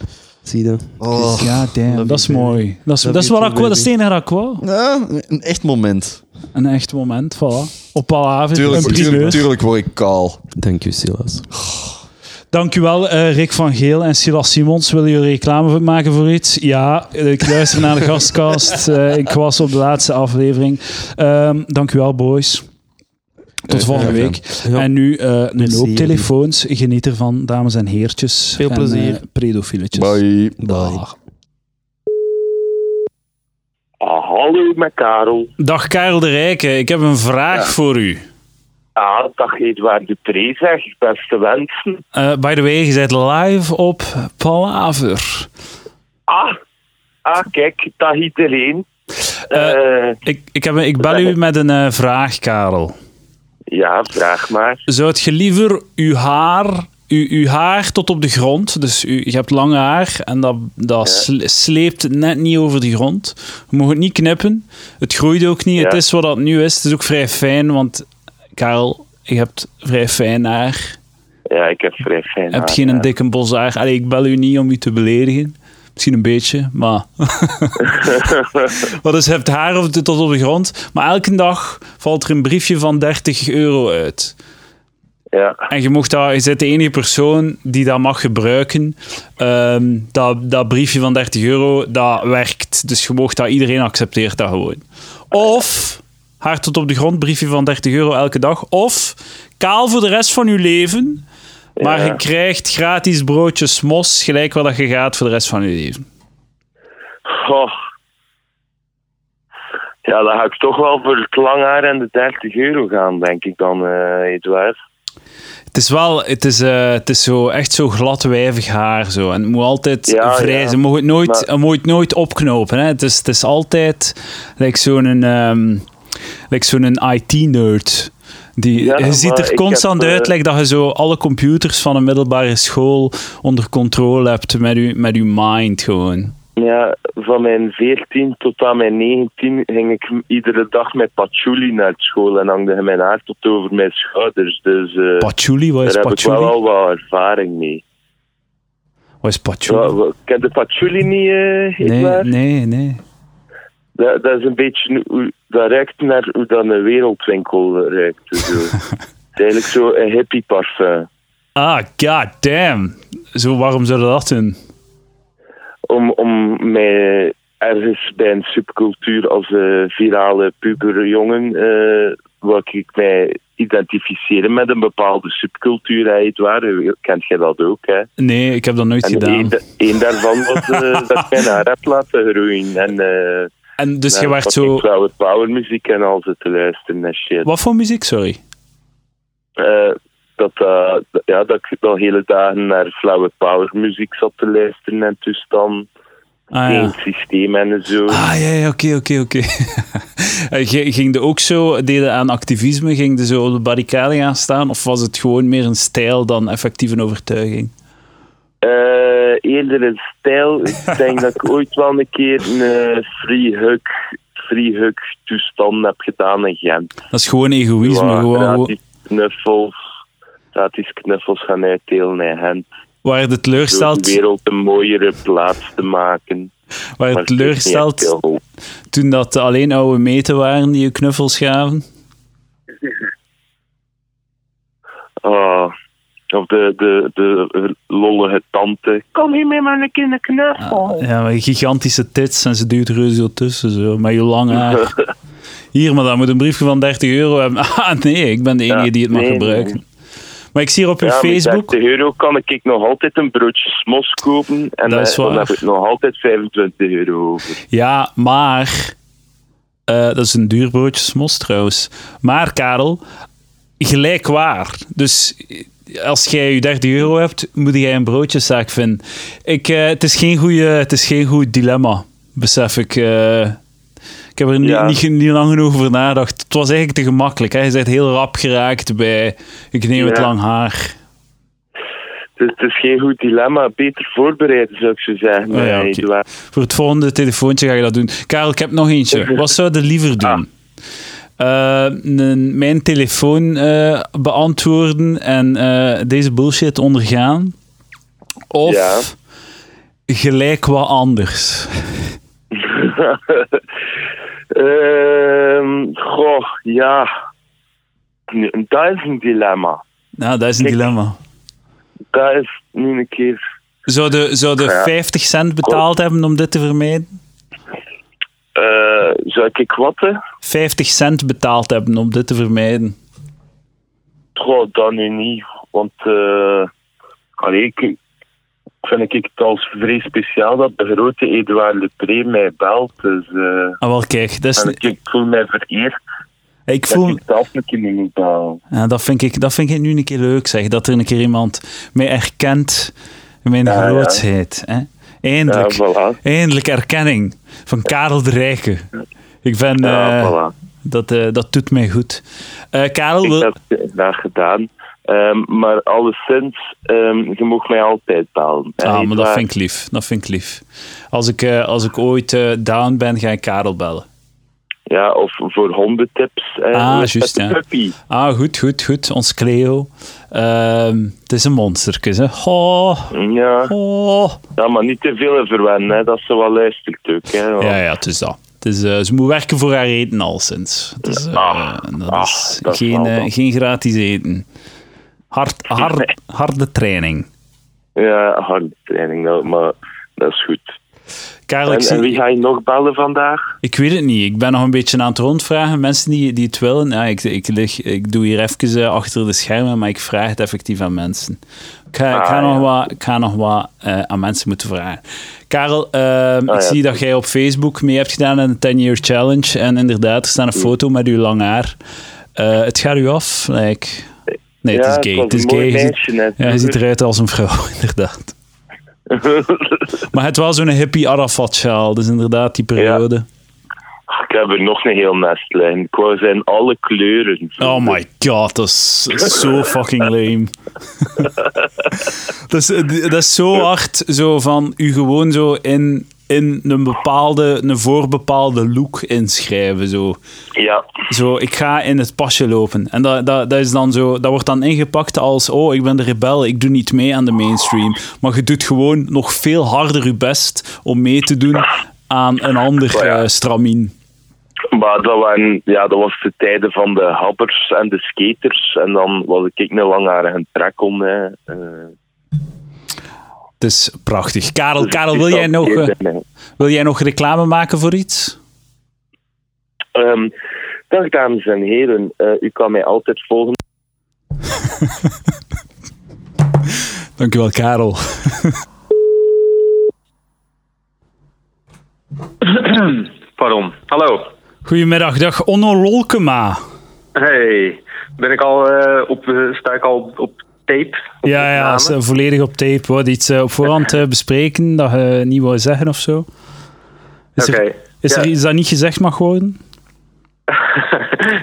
Speaker 3: Zie je?
Speaker 1: Oh.
Speaker 2: Ja, damn,
Speaker 3: Love
Speaker 2: dat
Speaker 3: you,
Speaker 2: is
Speaker 3: baby.
Speaker 2: mooi. Dat is,
Speaker 3: Love
Speaker 2: dat is,
Speaker 3: you
Speaker 2: wat
Speaker 3: too,
Speaker 2: ik wou, dat is het enige dat ik wou.
Speaker 1: Ja, een echt moment.
Speaker 2: Een echt moment, voilà. Op Palavik, een
Speaker 1: Tuurlijk,
Speaker 2: primeur.
Speaker 1: tuurlijk, tuurlijk word ik kaal.
Speaker 3: Dank u, Silas.
Speaker 2: Dankjewel, eh Rick van Geel en Silas Simons. Willen jullie reclame voor- maken voor iets? Ja, eh, ik luister naar de gastkast. Eh, ik was op de laatste aflevering. Ehm dankjewel, boys. Tot volgende
Speaker 1: Eh, gedaan.
Speaker 2: week.
Speaker 3: Ja.
Speaker 2: En nu eh een
Speaker 3: Merci,
Speaker 2: hoop telefoons. Geniet ervan, dames en heertjes.
Speaker 3: Veel
Speaker 2: en,
Speaker 3: plezier.
Speaker 2: eh, predofieletjes.
Speaker 1: Bye.
Speaker 2: Dag.
Speaker 4: Ah, hallo met Karel.
Speaker 2: Dag Karel de Rijke, ik heb een vraag voor u.
Speaker 4: Ah, dag Edouard Dupré zeg, beste wensen.
Speaker 2: Eh, by the way, je bent live op Palaver.
Speaker 4: Ah, ah kijk, dag iedereen.
Speaker 2: Eh,
Speaker 4: Eh,
Speaker 2: ik, ik, heb, een- ik bel u met een eh, vraag, Karel.
Speaker 4: ja, vraag maar.
Speaker 2: Zou je liever uw haar, uw, uw haar tot op de grond, dus u, je hebt lang haar en dat, dat sle- sleept net niet over de grond. Je mag het niet knippen, het groeit ook niet, het
Speaker 4: Ja.
Speaker 2: is wat dat nu is. Het is ook vrij fijn, want Karel, je hebt vrij fijn haar.
Speaker 4: Ja, ik heb vrij fijn
Speaker 2: Je hebt
Speaker 4: haar,
Speaker 2: geen
Speaker 4: ja.
Speaker 2: dikke bos haar. Allee, ik bel u niet om u te beledigen. Misschien een beetje, maar... Wat is, hebt haar of tot op de grond. Maar elke dag valt er een briefje van 30 euro uit.
Speaker 4: Ja,
Speaker 2: En je, mocht dat, je bent de enige persoon die dat mag gebruiken. Ehm, dat, dat briefje van 30 euro, dat werkt. Dus je mocht dat, iedereen accepteert dat gewoon. Of, haar tot op de grond, briefje van 30 euro elke dag. Of, kaal voor de rest van je leven. Maar
Speaker 4: Ja.
Speaker 2: je krijgt gratis broodjes mos, gelijk waar dat je gaat voor de rest van je leven.
Speaker 4: Goh. Oh. Ja, dan ga ik toch wel voor het lang haar en de 30 euro gaan, denk ik dan, eh Edouard.
Speaker 2: Het is wel, het is, eh, het is zo, echt zo glad wijvig haar. Zo. En het moet altijd
Speaker 4: Ja,
Speaker 2: vrij
Speaker 4: ja.
Speaker 2: zijn. Je mag het nooit,
Speaker 4: Maar-
Speaker 2: je mag het nooit opknopen. Hè. Het, is, het is altijd like zo'n ehm, like zo'n IT-nerd. Die,
Speaker 4: Ja,
Speaker 2: je ziet
Speaker 4: maar
Speaker 2: er
Speaker 4: ik
Speaker 2: constant
Speaker 4: heb, eh,
Speaker 2: uit like dat je zo alle computers van een middelbare school onder controle hebt met je, met je mind gewoon.
Speaker 4: Ja, van mijn 14 tot aan mijn 19 ging ik m- iedere dag met patchouli naar school en hangde mijn haar tot over mijn schouders. Dus eh,
Speaker 2: Patchouli, wat is
Speaker 4: daar heb ik wel
Speaker 2: patchouli?
Speaker 4: al wat ervaring mee.
Speaker 2: Wat is patchouli?
Speaker 4: Wa- wa- Ken de patchouli niet, eh
Speaker 2: Nee,
Speaker 4: Edouard?
Speaker 2: nee, nee.
Speaker 4: Dat, dat is een beetje hoe dat ruikt naar hoe dat een wereldwinkel ruikt. dus Zo. Het is Eigenlijk zo een hippie parfum.
Speaker 2: Ah, god damn. Zo, waarom zouden we dat doen?
Speaker 4: Om, om mij ergens bij een subcultuur als eh, virale puberjongen, eh wil ik mij identificeren met een bepaalde subcultuur, hè, Edouard. Eh, Kent jij dat ook, hè?
Speaker 2: Nee, ik heb dat nooit
Speaker 4: En
Speaker 2: gedaan.
Speaker 4: een, da- een daarvan was eh, dat ik mijn haar heb laten groeien. En, eh,
Speaker 2: En dus
Speaker 4: naar
Speaker 2: je werd
Speaker 4: fucking
Speaker 2: zo...
Speaker 4: flower power muziek en al ze te luisteren en shit.
Speaker 2: Wat voor muziek, sorry?
Speaker 4: Eh, dat, eh, d- ja, dat ik al hele dagen naar flower power muziek zat te luisteren en toestand.
Speaker 2: Ah
Speaker 4: Geen
Speaker 2: ja,
Speaker 4: systeem en zo.
Speaker 2: ah, ja, ja, oké, oké, oké. En G- Ging de ook zo, deden aan activisme, ging de zo op de barricade gaan staan? Of was het gewoon meer een stijl dan effectief een overtuiging?
Speaker 4: Eh, eerder een stijl. Ik denk dat ik ooit wel een keer een eh, free hug free hug toestand heb gedaan in Gent.
Speaker 2: Dat is gewoon egoïsme.
Speaker 4: Waar
Speaker 2: gewoon, gewoon-
Speaker 4: gratis knuffels, gratis knuffels gaan uitdelen in Gent.
Speaker 2: waar de
Speaker 4: Door de
Speaker 2: teleurstelt,
Speaker 4: wereld een mooiere plaats te maken.
Speaker 2: waar het
Speaker 4: Maar het is niet echt
Speaker 2: teleurstelt
Speaker 4: veel hoop.
Speaker 2: toen dat alleen oude meten waren die je knuffels gaven.
Speaker 4: Ah, of de, de, de lollige tante. Kom hier mee, maar een keer een knuffel.
Speaker 2: Ja, met gigantische tits en ze duwt reuze zo tussen, zo, met je lang haar. Hier, maar dat moet een briefje van 30 euro hebben. Ah, nee, ik ben de enige
Speaker 4: Ja,
Speaker 2: die het mag
Speaker 4: nee,
Speaker 2: gebruiken.
Speaker 4: nee.
Speaker 2: Maar ik zie hier op uw
Speaker 4: Ja, met
Speaker 2: Facebook...
Speaker 4: 30 euro kan ik nog altijd een broodje smos kopen. En
Speaker 2: Dat is
Speaker 4: eh, dan
Speaker 2: waar.
Speaker 4: heb ik nog altijd 25 euro over.
Speaker 2: Ja, maar... eh, dat is een duur broodje smos trouwens. Maar, Karel, gelijk waar. Dus eh, als jij je 30 euro hebt, moet jij een broodjeszaak vinden. Ik, eh, het, is geen goeie, het is geen goed dilemma, besef ik. eh. ik heb er
Speaker 4: Ja.
Speaker 2: niet, niet, niet lang genoeg over nagedacht. Het was eigenlijk te gemakkelijk. Hè? Je bent heel rap geraakt bij... Ik neem het
Speaker 4: Ja.
Speaker 2: lang haar.
Speaker 4: Dus het is geen goed dilemma. Beter voorbereiden, zou ik zo zeggen.
Speaker 2: Oh ja,
Speaker 4: eh,
Speaker 2: oké.
Speaker 4: Eduard.
Speaker 2: Voor het volgende telefoontje ga je dat doen. Karel, ik heb nog eentje. Wat zou je liever
Speaker 5: Ah.
Speaker 2: doen? Eh, een- mijn telefoon eh, beantwoorden en eh, deze bullshit ondergaan? Of
Speaker 4: Ja.
Speaker 2: gelijk wat anders?
Speaker 4: Ehm, goh, ja. Nee, Dat is een dilemma.
Speaker 2: Nou, dat is een
Speaker 4: Kijk.
Speaker 2: dilemma.
Speaker 5: dat is nu een keer.
Speaker 2: Zou de, zou de
Speaker 5: Ja. Oh.
Speaker 2: 50 cent betaald hebben om dit te vermijden?
Speaker 5: eh, zou ik wat? hè?
Speaker 2: 50 cent betaald hebben om dit te vermijden.
Speaker 5: Goh, dat nu niet. Want eh allee, ik, vind ik het als vrij speciaal dat de grote Edouard Lepré mij belt. Dus, eh,
Speaker 2: Ah, wel, kijk, dat is,
Speaker 5: en ik, ik voel mij vereerd
Speaker 2: ik
Speaker 5: dat
Speaker 2: voel,
Speaker 5: ik zelf een keer niet moet bellen.
Speaker 2: Ja, Eh, dat, vind ik, dat vind ik nu een keer leuk, zeg. Dat er een keer iemand mij erkent in mijn
Speaker 5: Ja, ja.
Speaker 2: grootheid. Hè? Eindelijk.
Speaker 5: Ja, voilà.
Speaker 2: Eindelijk erkenning van Karel de Rijke. Ik ben...
Speaker 5: Ja,
Speaker 2: eh,
Speaker 5: voilà.
Speaker 2: dat, eh, dat doet mij goed. Eh, Karel,
Speaker 5: Ik
Speaker 2: wil-
Speaker 5: heb het daar gedaan. Ehm, maar alleszins, ehm je mag mij altijd bellen. hè,
Speaker 2: Ah, maar dat
Speaker 5: Edouard.
Speaker 2: vind ik lief. Dat vind ik lief. Als ik, eh, als ik ooit eh, down ben, ga ik Karel bellen.
Speaker 5: Ja, of voor hondentips. hè,
Speaker 2: Ah,
Speaker 5: met
Speaker 2: juist,
Speaker 5: de
Speaker 2: ja.
Speaker 5: puppy.
Speaker 2: Ah, goed, goed, goed. Ons Cleo. Ehm, het is een monsterkus, hè. Oh,
Speaker 5: Ja.
Speaker 2: oh.
Speaker 5: ja, maar niet te veel verwennen, hè. dat ze wel luistert ook. Hè.
Speaker 2: Ja, ja, het is dat. Het is, eh, ze moet werken voor haar eten alleszins. Het is, eh,
Speaker 5: Ah,
Speaker 2: dat
Speaker 5: ah,
Speaker 2: is
Speaker 5: dat is
Speaker 2: geen,
Speaker 5: wel
Speaker 2: eh,
Speaker 5: dan.
Speaker 2: geen gratis eten. Hard, hard, harde training.
Speaker 5: Ja, harde training, nou, maar dat is goed.
Speaker 2: Karel, Oh, ik,
Speaker 5: En,
Speaker 2: zie-
Speaker 5: en wie ga je nog bellen vandaag?
Speaker 2: ik weet het niet. Ik ben nog een beetje aan het rondvragen. Mensen die, die het willen. Ja, ik, ik, lig, ik doe hier even eh, achter de schermen, maar ik vraag het effectief aan mensen. Ik ga, ik
Speaker 5: Ah,
Speaker 2: ga
Speaker 5: ja.
Speaker 2: nog wat, ik ga nog wat eh, aan mensen moeten vragen. Karel, ehm, ik
Speaker 5: Ah, ja.
Speaker 2: zie dat jij op Facebook mee hebt gedaan aan de 10-year challenge. En inderdaad, er staat
Speaker 5: Mm.
Speaker 2: een foto met uw lang haar. Eh, het gaat u af. Like... Nee, het
Speaker 5: Ja,
Speaker 2: is
Speaker 5: het
Speaker 2: gay.
Speaker 5: was
Speaker 2: Het is
Speaker 5: een
Speaker 2: gay.
Speaker 5: mooi
Speaker 2: Je ziet,
Speaker 5: meisje net.
Speaker 2: ja, je ziet eruit als een vrouw, inderdaad. maar het was zo'n hippie Arafat-sjaal. Dus inderdaad, die periode.
Speaker 5: Ik heb er nog een heel nestlijn. Ik wou zijn alle kleuren.
Speaker 2: Oh my god, dat is dat is zo fucking lame. dat, is, dat is zo hard, zo van u gewoon zo in, in een bepaalde, een voorbepaalde look inschrijven. Zo,
Speaker 5: Ja,
Speaker 2: zo ik ga in het pasje lopen. En dat, dat, dat, is dan zo, dat wordt dan ingepakt als, oh, ik ben de rebel, ik doe niet mee aan de mainstream. Maar je doet gewoon nog veel harder je best om mee te doen aan een ander
Speaker 5: Oh ja.
Speaker 2: eh, stramien.
Speaker 5: maar dat, waren, ja, dat was de tijden van de habbers en de skaters. En dan was ik een langharige trek om. Hè. Eh,
Speaker 2: Het is prachtig. Karel,
Speaker 5: dus
Speaker 2: Karel
Speaker 5: ik
Speaker 2: wil jij
Speaker 5: zal
Speaker 2: nog... eh,
Speaker 5: eerder zijn.
Speaker 2: Wil jij nog reclame maken voor iets?
Speaker 5: Ehm, dag dames en heren, Eh, u kan mij altijd volgen.
Speaker 2: Dankjewel, Karel.
Speaker 4: Pardon. Hallo.
Speaker 2: Goedemiddag, dag Onno Lolkema.
Speaker 4: Hey. Ben ik al eh, op, eh, sta ik al op, op tape? Op
Speaker 2: Ja, ja,
Speaker 4: opname?
Speaker 2: is, eh, volledig op tape. Wat iets eh, op voorhand eh, bespreken dat je niet wou zeggen of zo. Is, er,
Speaker 4: Oké.
Speaker 2: is er
Speaker 4: Ja.
Speaker 2: iets dat niet gezegd mag worden?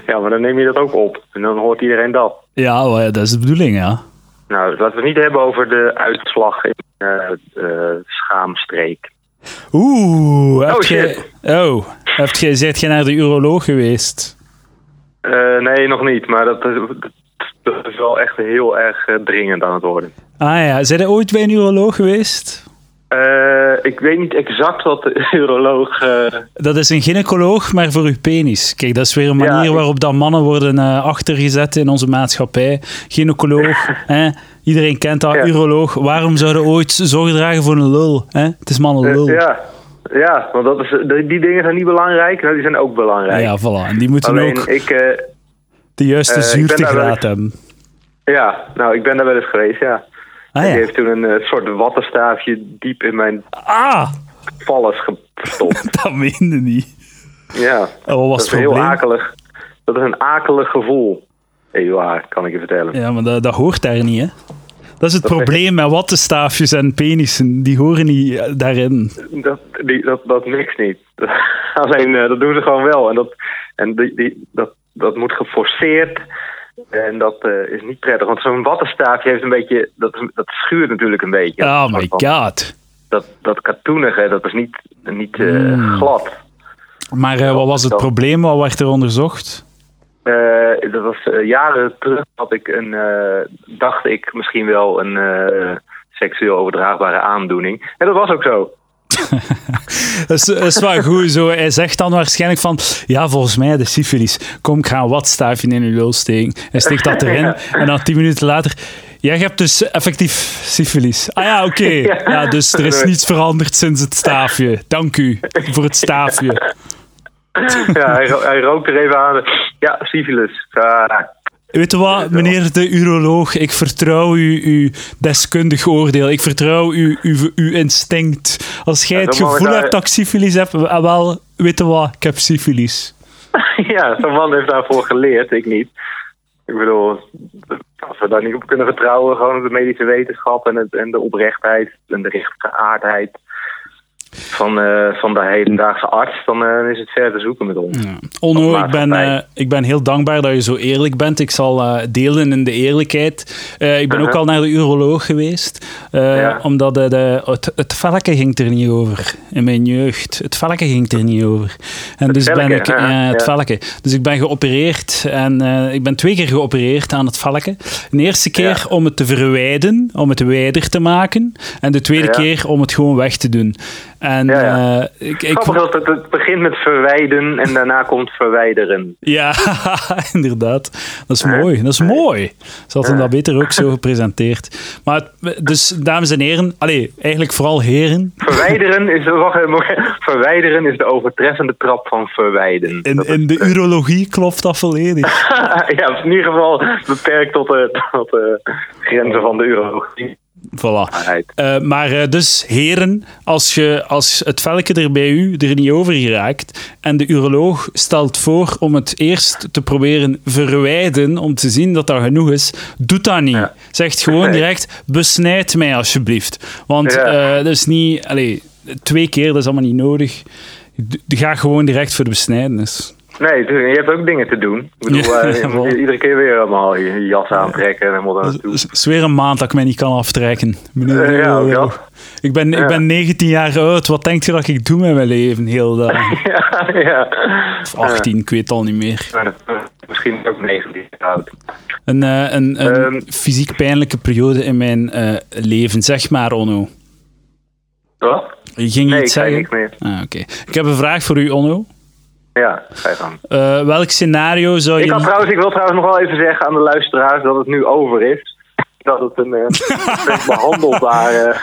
Speaker 4: ja, maar dan neem je dat ook op. En dan hoort iedereen dat.
Speaker 2: Ja, wel, ja, dat is de bedoeling, ja.
Speaker 4: Nou, laten we het niet hebben over de uitslag in eh, eh, Schaamstreek.
Speaker 2: Oeh, heb
Speaker 4: shit.
Speaker 2: je, oh, heb je, zijt je naar de uroloog geweest?
Speaker 4: Eh, nee, nog niet. Maar dat, is- dat is wel echt heel erg eh, dringend aan het worden.
Speaker 2: Ah ja, zijn er ooit bij een uroloog geweest?
Speaker 4: Eh, ik weet niet exact wat de uroloog... eh,
Speaker 2: Dat is een gynaecoloog, maar voor uw penis. Kijk, dat is weer een
Speaker 4: Ja,
Speaker 2: manier
Speaker 4: ik-
Speaker 2: waarop dat mannen worden eh, achtergezet in onze maatschappij. Gynaecoloog, hè? iedereen kent dat,
Speaker 4: Ja.
Speaker 2: uroloog. Waarom zouden we ooit zorg dragen voor een lul? Hè? Het is mannen lul. ja.
Speaker 4: Eh, ja. ja, want dat is, die, die dingen zijn niet belangrijk. Nou, die zijn ook belangrijk.
Speaker 2: Ah voilà. En die moeten
Speaker 4: Alleen,
Speaker 2: ook
Speaker 4: ik... eh,
Speaker 2: de juiste
Speaker 4: eh, ik ben daar wel
Speaker 2: zuurtegraad
Speaker 4: eens-
Speaker 2: hebben.
Speaker 4: Ja, nou, ik ben daar wel eens geweest, ja.
Speaker 2: Ah,
Speaker 4: Die
Speaker 2: ja.
Speaker 4: heeft toen een eh, soort wattenstaafje diep in mijn
Speaker 2: ah,
Speaker 4: valles gestopt.
Speaker 2: dat meende niet.
Speaker 4: ja,
Speaker 2: En wat was
Speaker 4: dat
Speaker 2: het
Speaker 4: is heel
Speaker 2: probleem?
Speaker 4: akelig. Dat is een akelig gevoel. Eduard, kan ik je vertellen.
Speaker 2: Ja, maar dat, dat hoort daar niet, hè? Dat is het probleem met wattenstaafjes en penissen. Die horen niet eh, daarin.
Speaker 4: Dat, die, dat, dat niks niet. Alleen, eh, dat doen ze gewoon wel. En dat, en die, die, dat, dat moet geforceerd. En dat eh, is niet prettig. Want zo'n wattenstaafje heeft een beetje... Dat, is- dat schuurt natuurlijk een beetje.
Speaker 2: Oh
Speaker 4: Dat
Speaker 2: my
Speaker 4: soort van-
Speaker 2: god.
Speaker 4: Dat, dat katoenige, dat is niet, niet eh,
Speaker 2: Mm.
Speaker 4: glad.
Speaker 2: Maar eh, wat was het
Speaker 4: dat-
Speaker 2: probleem? Wat werd er onderzocht?
Speaker 4: Eh, dat was eh, jaren terug had ik een, eh, dacht ik misschien wel een eh, seksueel overdraagbare aandoening. En dat was ook zo.
Speaker 2: Dat is, dat is wel goed. Zo. Hij zegt dan waarschijnlijk van... Ja, volgens mij de syfilis. Kom, ik ga een watstaafje in uw lul steken. Hij steekt dat erin. En dan tien minuten later... Jij hebt dus effectief syfilis. Ah ja, oké. Ja. dus er is niets veranderd sinds het staafje. Dank u voor het staafje.
Speaker 4: Ja, hij, ro- hij rookt er even aan. Ja, syfilis. Ah,
Speaker 2: Weet je wat, meneer de uroloog? Ik vertrouw uw, uw deskundig oordeel. Ik vertrouw uw, uw, uw instinct. Als jij het
Speaker 4: dan mogen we
Speaker 2: gevoel
Speaker 4: daar-
Speaker 2: hebt dat ik syfilis heb, eh, wel, weet je wat, ik heb syfilis.
Speaker 4: ja, zo'n man heeft daarvoor geleerd, ik niet. Ik bedoel, als we daar niet op kunnen vertrouwen, gewoon op de medische wetenschap en, het, en de oprechtheid en de rechtgeaardheid van, eh, van de hedendaagse arts, dan eh, is het ver te zoeken met ons.
Speaker 2: Onno,
Speaker 4: Of
Speaker 2: ik ben,
Speaker 4: maatschappij.
Speaker 2: eh, ik ben heel dankbaar dat je zo eerlijk bent. Ik zal eh, delen in de eerlijkheid. Eh, ik ben ook
Speaker 4: Mhm.
Speaker 2: al naar de uroloog geweest, eh,
Speaker 4: Ja.
Speaker 2: omdat eh, de, het, het velken ging er niet over in mijn jeugd. Het velken ging er niet over. En dus ben
Speaker 4: velken,
Speaker 2: ik,
Speaker 4: hè?
Speaker 2: eh, het
Speaker 4: Ja.
Speaker 2: velken. Dus ik ben geopereerd en eh, ik ben twee keer geopereerd aan het velken. De eerste keer om het te verwijden, om het wijder te maken, en de tweede
Speaker 4: Ja.
Speaker 2: keer om het gewoon weg te doen. En
Speaker 4: Ja, ja.
Speaker 2: eh, ik, ik,
Speaker 4: Grappig dat het, het begint met verwijden en daarna komt verwijderen.
Speaker 2: ja, inderdaad. Dat is mooi. Dat is mooi. Ze hadden dat beter ook zo gepresenteerd. Maar het- dus, dames en heren, allee, eigenlijk vooral heren.
Speaker 4: Verwijderen is, wacht even, maar- verwijderen is de overtreffende trap van verwijden.
Speaker 2: In, in de urologie klopt dat volledig.
Speaker 4: ja, in ieder geval beperkt tot de tot, de grenzen van de urologie.
Speaker 2: Voilà. Eh, maar eh, dus, heren, als, je, als het velken er bij u er niet over geraakt en de uroloog stelt voor om het eerst te proberen verwijden om te zien dat dat genoeg is, doet dat niet. Zegt gewoon
Speaker 4: Nee.
Speaker 2: direct, besnijd mij alsjeblieft. Want
Speaker 4: Ja.
Speaker 2: eh, dat is niet... Allee, twee keer, dat is allemaal niet nodig. D- Ga gewoon direct voor de besnijdenis.
Speaker 4: Nee, tuurlijk, je hebt ook dingen te doen. Ik bedoel,
Speaker 2: Ja,
Speaker 4: eh, je moet
Speaker 2: wel.
Speaker 4: iedere keer weer allemaal je je jas aantrekken en helemaal daar naartoe.
Speaker 2: Het is weer een maand dat ik mij niet kan aftrekken. Meneer de
Speaker 4: Eh, ja, ook
Speaker 2: uroloog.
Speaker 4: al.
Speaker 2: ik, ben, ik
Speaker 4: Ja.
Speaker 2: ben 19 jaar oud. Wat denkt je dat ik doe met mijn leven? Heel dat.
Speaker 4: ja, ja.
Speaker 2: Of 18, ik weet het al niet meer.
Speaker 4: Maar dat- eh, Misschien ook 19 jaar oud.
Speaker 2: Een, eh, een, een
Speaker 4: Ehm.
Speaker 2: fysiek pijnlijke periode in mijn eh, leven, zeg maar, Onno.
Speaker 4: Wat?
Speaker 2: Je ging
Speaker 4: Nee, ik
Speaker 2: iets
Speaker 4: zei
Speaker 2: zeggen?
Speaker 4: niks meer.
Speaker 2: Ah, oké. Ik heb een vraag voor u, Onno.
Speaker 4: Ja, ga je gang.
Speaker 2: Eh, welk scenario zou
Speaker 4: Ik,
Speaker 2: je...
Speaker 4: had trouwens, ik wil trouwens nog wel even zeggen aan de luisteraars dat het nu over is. Dat het een, eh, een behandelbare,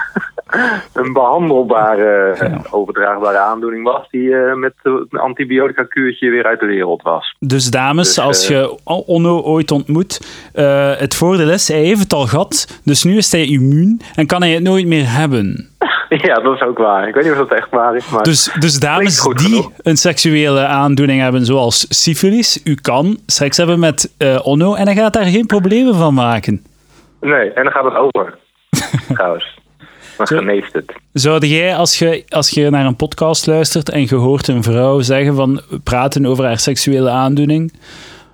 Speaker 4: een behandelbare eh, overdraagbare aandoening was. Die eh, met eh, een antibiotica kuurtje weer uit de wereld was.
Speaker 2: Dus dames,
Speaker 4: Dus,
Speaker 2: als
Speaker 4: eh,
Speaker 2: je O- Onno ooit ontmoet, eh, het voordeel is, hij heeft het al gehad, dus nu is hij immuun en kan hij het nooit meer hebben.
Speaker 4: ja, dat is ook waar. Ik weet niet of dat echt waar is. Maar
Speaker 2: Dus, dus dames
Speaker 4: Klinkt goed
Speaker 2: die
Speaker 4: genoeg.
Speaker 2: een seksuele aandoening hebben, zoals syfilis, u kan seks hebben met eh, Onno en hij gaat daar geen problemen van maken.
Speaker 4: nee, en dan gaat het over. trouwens. Dan geneest het.
Speaker 2: Zou jij, als je, als je naar een podcast luistert en je hoort een vrouw zeggen van we praten over haar seksuele aandoening,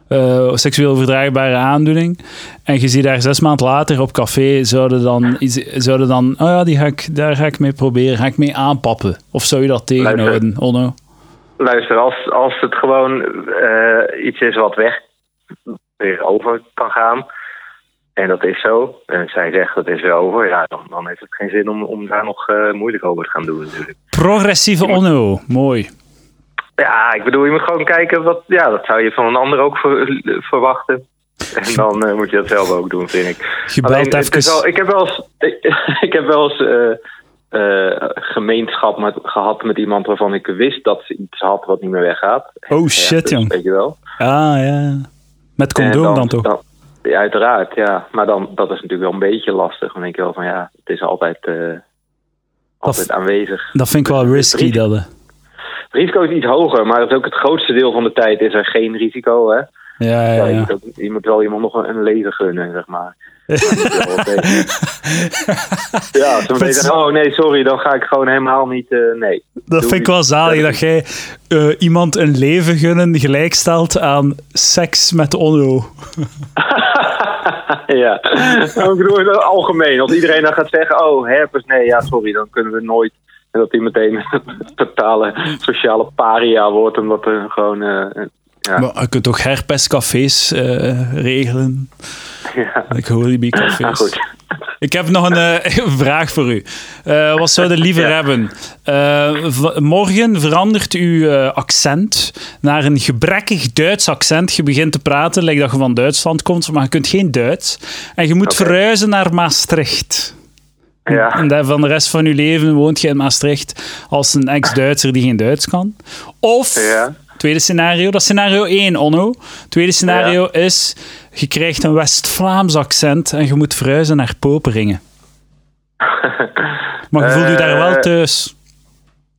Speaker 2: eh, seksueel verdraagbare aandoening, en je ziet haar zes maanden later op café, zouden dan, iets- zouden dan oh ja, die ga ik, daar ga ik mee proberen, ga ik mee aanpappen? Of zou je dat tegenhouden, Onno?
Speaker 4: Luister, als, als het gewoon eh, iets is wat weg weer over kan gaan. En dat is zo. En zij zegt dat is weer over. Ja, dan, dan heeft het geen zin om, om daar nog eh, moeilijk over te gaan doen natuurlijk.
Speaker 2: Progressieve Onno, mooi.
Speaker 4: Ja, ik bedoel, je moet gewoon kijken wat. Ja, dat zou je van een ander ook ver- verwachten. En dan eh, moet je dat zelf ook doen, vind ik.
Speaker 2: Je
Speaker 4: Alleen,
Speaker 2: belt
Speaker 4: het is
Speaker 2: even...
Speaker 4: wel- ik heb wel eens, ik, ik heb wel eens eh, eh, gemeenschap met, gehad met iemand waarvan ik wist dat ze iets had wat niet meer weggaat.
Speaker 2: Oh
Speaker 4: Ja,
Speaker 2: shit,
Speaker 4: dus,
Speaker 2: jong.
Speaker 4: Weet je wel.
Speaker 2: Ah, ja. Met
Speaker 4: En
Speaker 2: condoom dan, toch?
Speaker 4: ja, uiteraard, ja. Maar dan, dat is natuurlijk wel een beetje lastig. Dan denk je wel van ja, het is altijd, eh, altijd aanwezig.
Speaker 2: Dat vind ik wel risky,
Speaker 4: Drie-
Speaker 2: dat. hè.
Speaker 4: Het risico is iets hoger, maar dat is ook het grootste deel van de tijd is er geen risico. Hè?
Speaker 2: Ja, ja,
Speaker 4: Ja, je,
Speaker 2: ja.
Speaker 4: moet ook- je moet wel iemand nog een, een lezer gunnen, zeg maar. ja, als ze meteen zeggen, oh nee, sorry, dan ga ik gewoon helemaal niet, eh, nee.
Speaker 2: Dat vind ik wel zalig dat jij eh, iemand een leven gunnen gelijkstelt aan seks met onno.
Speaker 4: ja, Nou, ik bedoel in het algemeen. Als iedereen dan gaat zeggen, oh, herpes, nee, ja, sorry, dan kunnen we nooit. En dat hij meteen een totale sociale paria wordt, omdat er gewoon... eh, Ja.
Speaker 2: Maar je kunt toch herpescafés eh, regelen?
Speaker 4: Ja.
Speaker 2: Ik hoor die cafés.
Speaker 4: Maar goed.
Speaker 2: Ik heb nog een eh, vraag voor u. Eh, wat zou je liever
Speaker 4: Ja.
Speaker 2: hebben? Eh, v- morgen verandert uw eh, accent naar een gebrekkig Duits accent. Je begint te praten, lijkt dat je van Duitsland komt, maar je kunt geen Duits. En je moet
Speaker 4: Oké.
Speaker 2: verhuizen naar Maastricht.
Speaker 4: Ja.
Speaker 2: En dan van de rest van je leven woont je in Maastricht als een ex-Duitser die geen Duits kan. Of,
Speaker 4: Ja.
Speaker 2: tweede scenario, dat is scenario 1, Onno. Tweede scenario is, je krijgt een West-Vlaams accent en je moet verhuizen naar Poperingen. maar je voelt je daar wel
Speaker 4: Eh.
Speaker 2: thuis.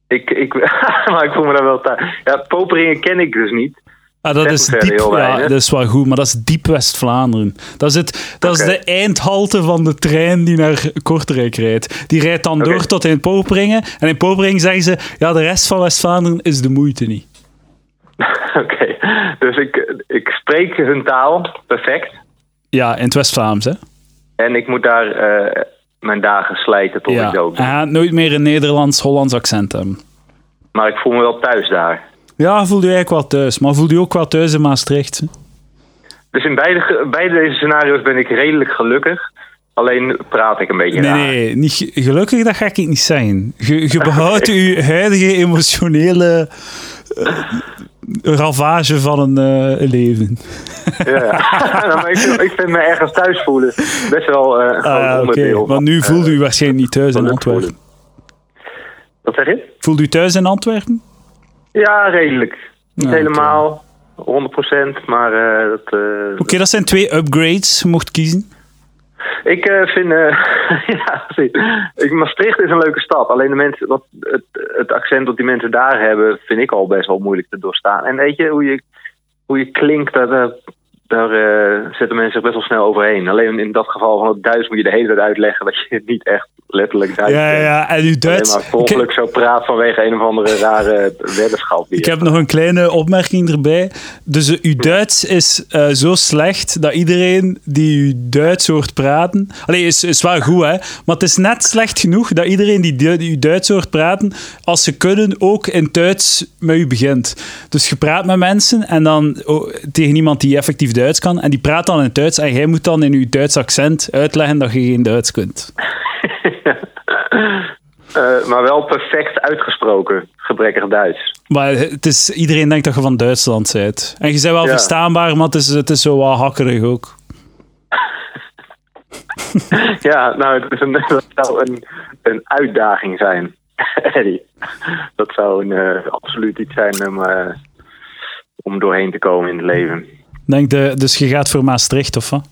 Speaker 4: Ik, ik, maar ik voel me daar wel thuis. Ja, poperingen ken ik dus niet.
Speaker 2: Ah, dat
Speaker 4: Zegt
Speaker 2: is
Speaker 4: me verder
Speaker 2: diep,
Speaker 4: heel
Speaker 2: ja,
Speaker 4: weinig.
Speaker 2: dat is wel goed, maar dat is diep West-Vlaanderen. Dat is, het, dat
Speaker 4: Oké.
Speaker 2: is de eindhalte van de trein die naar Kortrijk rijdt. Die rijdt dan
Speaker 4: Oké.
Speaker 2: door tot in Poperingen. En in Poperingen zeggen ze, ja, de rest van West-Vlaanderen is de moeite niet.
Speaker 4: Oké, dus ik, ik spreek hun taal perfect.
Speaker 2: Ja, in het West-Vlaams, hè?
Speaker 4: Oh, En ik moet daar eh, mijn dagen slijten tot ik
Speaker 2: Ja. Ah.
Speaker 4: dood
Speaker 2: Hij
Speaker 4: ben.
Speaker 2: gaat nooit meer een Nederlands-Hollands accent hebben.
Speaker 4: Maar ik voel me wel thuis daar.
Speaker 2: Ja, voelde je eigenlijk wel thuis. Maar voelde je ook wel thuis in Maastricht? hè?
Speaker 4: Dus in beide, ge- beide deze scenario's ben ik redelijk gelukkig. Alleen praat ik een beetje
Speaker 2: Nee,
Speaker 4: raar.
Speaker 2: nee. Niet, ge- gelukkig, dat ga ik niet zijn. Je, je behoudt je huidige emotionele eh, ravage van een eh, leven.
Speaker 4: Ja. Nou, maar ik, vind- ik vind me ergens thuis voelen best wel eh, een groot
Speaker 2: Ah, oké.
Speaker 4: onderdeel. Eh,
Speaker 2: Want nu voelde u waarschijnlijk niet thuis in
Speaker 4: geluk
Speaker 2: Antwerpen.
Speaker 4: voelen. Wat zeg je?
Speaker 2: Voelde u thuis in Antwerpen?
Speaker 4: Ja, redelijk. Niet
Speaker 2: Ja, Ah, oké.
Speaker 4: helemaal, 100%, maar eh, dat, eh,
Speaker 2: Oké, dat zijn twee upgrades. Je mocht kiezen.
Speaker 4: Ik eh, vind, eh, ja, precies. ik, Maastricht is een leuke stad. Alleen de mensen, wat, het, het accent dat die mensen daar hebben, vind ik al best wel moeilijk te doorstaan. En weet je, hoe je, hoe je klinkt, daar, daar, daar, eh, zetten mensen zich best wel snel overheen. Alleen in dat geval van het Duits moet je de hele tijd uitleggen dat je het niet echt letterlijk Duits
Speaker 2: Ja, ja,
Speaker 4: bent.
Speaker 2: ja. En uw
Speaker 4: eh, Alleen
Speaker 2: Duits...
Speaker 4: maar volgelijk zo praat vanwege een of andere rare weddenschap. die
Speaker 2: Ik
Speaker 4: je-
Speaker 2: heb nog een kleine opmerking erbij. Dus eh, uw Duits is eh, zo slecht dat iedereen die uw Duits hoort praten. Allee, is, is wel goed, hè? Maar het is net slecht genoeg dat iedereen die, du- die uw Duits hoort praten, als ze kunnen, ook in het Duits met u begint. Dus je praat met mensen en dan oh, tegen iemand die effectief Duits kan. En die praat dan in het Duits. En jij moet dan in uw Duits accent uitleggen dat je geen Duits kunt.
Speaker 4: Eh, maar wel perfect uitgesproken, gebrekkig Duits.
Speaker 2: Maar het is, iedereen denkt dat je van Duitsland bent. En je bent wel
Speaker 4: Ja.
Speaker 2: verstaanbaar, maar het is, het is zo wat hakkerig ook.
Speaker 4: Ja, nou, het is een, dat zou een, een uitdaging zijn, Eddie. Dat zou een, eh, absoluut iets zijn om, eh, om doorheen te komen in het leven.
Speaker 2: Denk de, dus je gaat voor Maastricht, of wat?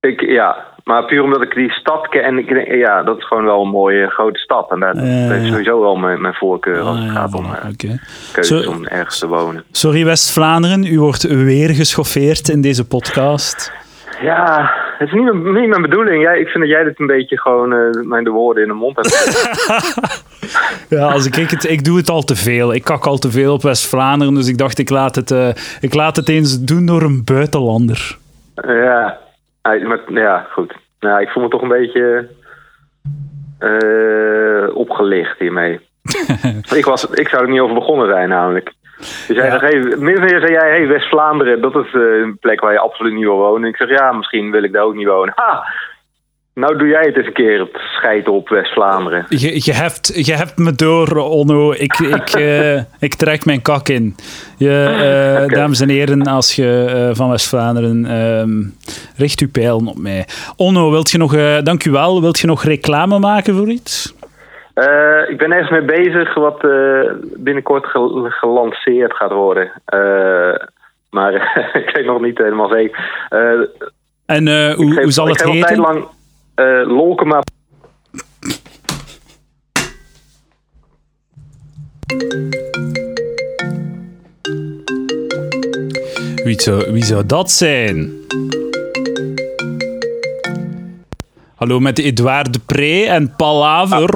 Speaker 4: Ik, ja, maar puur omdat ik die stad ken. En ik, denk, ja, dat is gewoon wel een mooie grote stad. En daar
Speaker 2: Ja.
Speaker 4: dat is sowieso wel mijn, mijn voorkeur als het gaat om eh,
Speaker 2: Ah, Oké.
Speaker 4: keuzes
Speaker 2: Zo-
Speaker 4: om ergens te wonen.
Speaker 2: Sorry West-Vlaanderen, u wordt weer geschoffeerd in deze podcast.
Speaker 4: Ja, het is niet mijn, niet mijn bedoeling. Jij, ik vind dat jij dit een beetje gewoon eh, mijn de woorden in de mond hebt. gezet.
Speaker 2: Ja, als ik, ik, het, ik doe het al te veel. Ik kak al te veel op West-Vlaanderen, dus ik dacht ik laat, het, eh, ik laat het eens doen door een buitenlander.
Speaker 4: Ja, Hij- maar, ja goed. Nou, ik voel me toch een beetje eh, opgelicht hiermee. ik, was, ik zou er niet over begonnen zijn namelijk. Dus jij
Speaker 2: Ja.
Speaker 4: zegt, hey, min of meer zei jij, hey, West-Vlaanderen, dat is eh, een plek waar je absoluut niet wil wonen. Ik zeg, ja, misschien wil ik daar ook niet wonen. Ha! Nou doe jij het eens een keer, het scheid op West-Vlaanderen.
Speaker 2: Je, je, hebt, je hebt me door, Onno. Ik, ik, eh, ik trek mijn kak in. Je, eh,
Speaker 4: Ah, Oké.
Speaker 2: Dames en heren, als je eh, van West-Vlaanderen... ehm, richt uw pijlen op mij. Onno, wilt je nog, eh, dank u wel. Wilt je nog reclame maken voor iets?
Speaker 4: Eh, ik ben ergens mee bezig wat eh, binnenkort gel- gelanceerd gaat worden. Eh, maar ik weet nog niet helemaal zeker. Eh,
Speaker 2: En eh, hoe,
Speaker 4: Ik geef-
Speaker 2: hoe zal het
Speaker 4: ik geef al
Speaker 2: heten?
Speaker 4: tijd lang eh, Lolkema.
Speaker 2: Wie zou, wie zou dat zijn? Hallo, met Edouard de Pre en Palaver.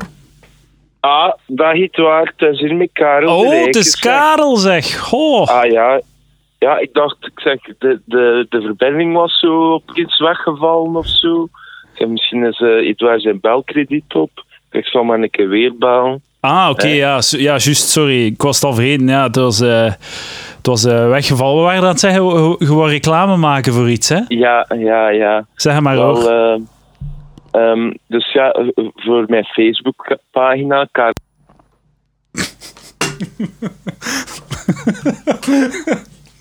Speaker 5: Ah, dag Edouard, het is hier met
Speaker 4: Ah,
Speaker 5: Karel. de
Speaker 2: oh,
Speaker 5: Rijk.
Speaker 2: het is Karel, zeg. Goh.
Speaker 5: Ah ja. Ja, ik dacht, ik zeg, de, de, de verbinding was zo opeens weggevallen of zo. Ik heb misschien eens eh Edouard zijn belkrediet op. Ik zal maar een keer weer bellen.
Speaker 2: Ah, oké, ja, su- ja, juist, sorry. Ik was het al vergeten. Ja, het was, eh, Het was eh, weggevallen. We waren aan het zeggen, we- we- gewoon reclame maken voor iets, hè?
Speaker 5: Ja, ja, ja.
Speaker 2: Zeg maar
Speaker 5: Wel,
Speaker 2: hoor.
Speaker 5: eh, ehm, dus ja, eh, voor mijn Facebookpagina, Karel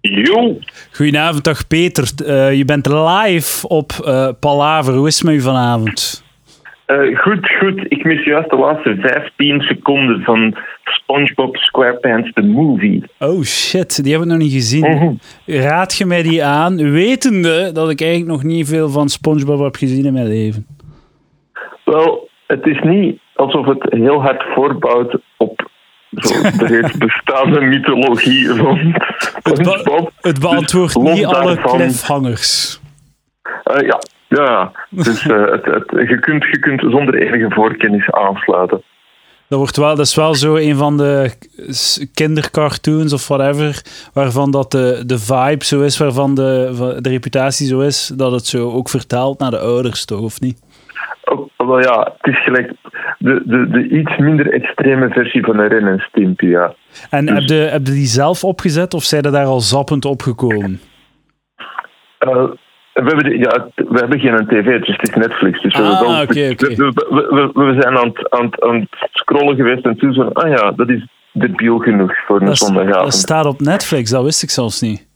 Speaker 5: Jo,
Speaker 2: Goedenavond, dag Peter. Eh, je bent live op eh, Palaver. Hoe is het met u vanavond?
Speaker 5: eh, goed, goed. Ik mis juist de laatste 15 seconden van SpongeBob SquarePants The Movie.
Speaker 2: Oh shit, die hebben we nog niet gezien.
Speaker 5: Mhm.
Speaker 2: Raad je mij die aan, wetende dat ik eigenlijk nog niet veel van SpongeBob heb gezien in mijn leven?
Speaker 5: Wel, het is niet alsof het heel hard voorbouwt op zo de reeds bestaande mythologie rond SpongeBob.
Speaker 2: Het beantwoordt
Speaker 5: Dus los
Speaker 2: niet alle
Speaker 5: daarvan-
Speaker 2: cliffhangers.
Speaker 5: Eh, ja, ja. Dus eh, het, het, je, kunt, je kunt zonder enige voorkennis aansluiten.
Speaker 2: Dat, wordt wel, dat is wel zo een van de s- kindercartoons of whatever, waarvan dat de, de vibe zo is, waarvan de, van- de reputatie zo is, dat het zo ook vertaalt naar de ouders, toch, of niet?
Speaker 5: Oh, wel ja, het is gelijk de, de, de iets minder extreme versie van Ren en Stimpy, ja.
Speaker 2: En heb je, heb je die zelf opgezet, of zijn er daar al zappend opgekomen?
Speaker 5: Eh, we, hebben de- ja, t- we hebben geen tv, dus het is Netflix. Dus we-
Speaker 2: Ah,
Speaker 5: we,
Speaker 2: oké, oké.
Speaker 5: we, we, we- we zijn aan het, aan, het, aan het scrollen geweest en toen zo, ah ja, dat is debiel genoeg voor een
Speaker 2: Dat, s- dat
Speaker 5: zondagavond.
Speaker 2: staat op Netflix, dat wist ik zelfs niet.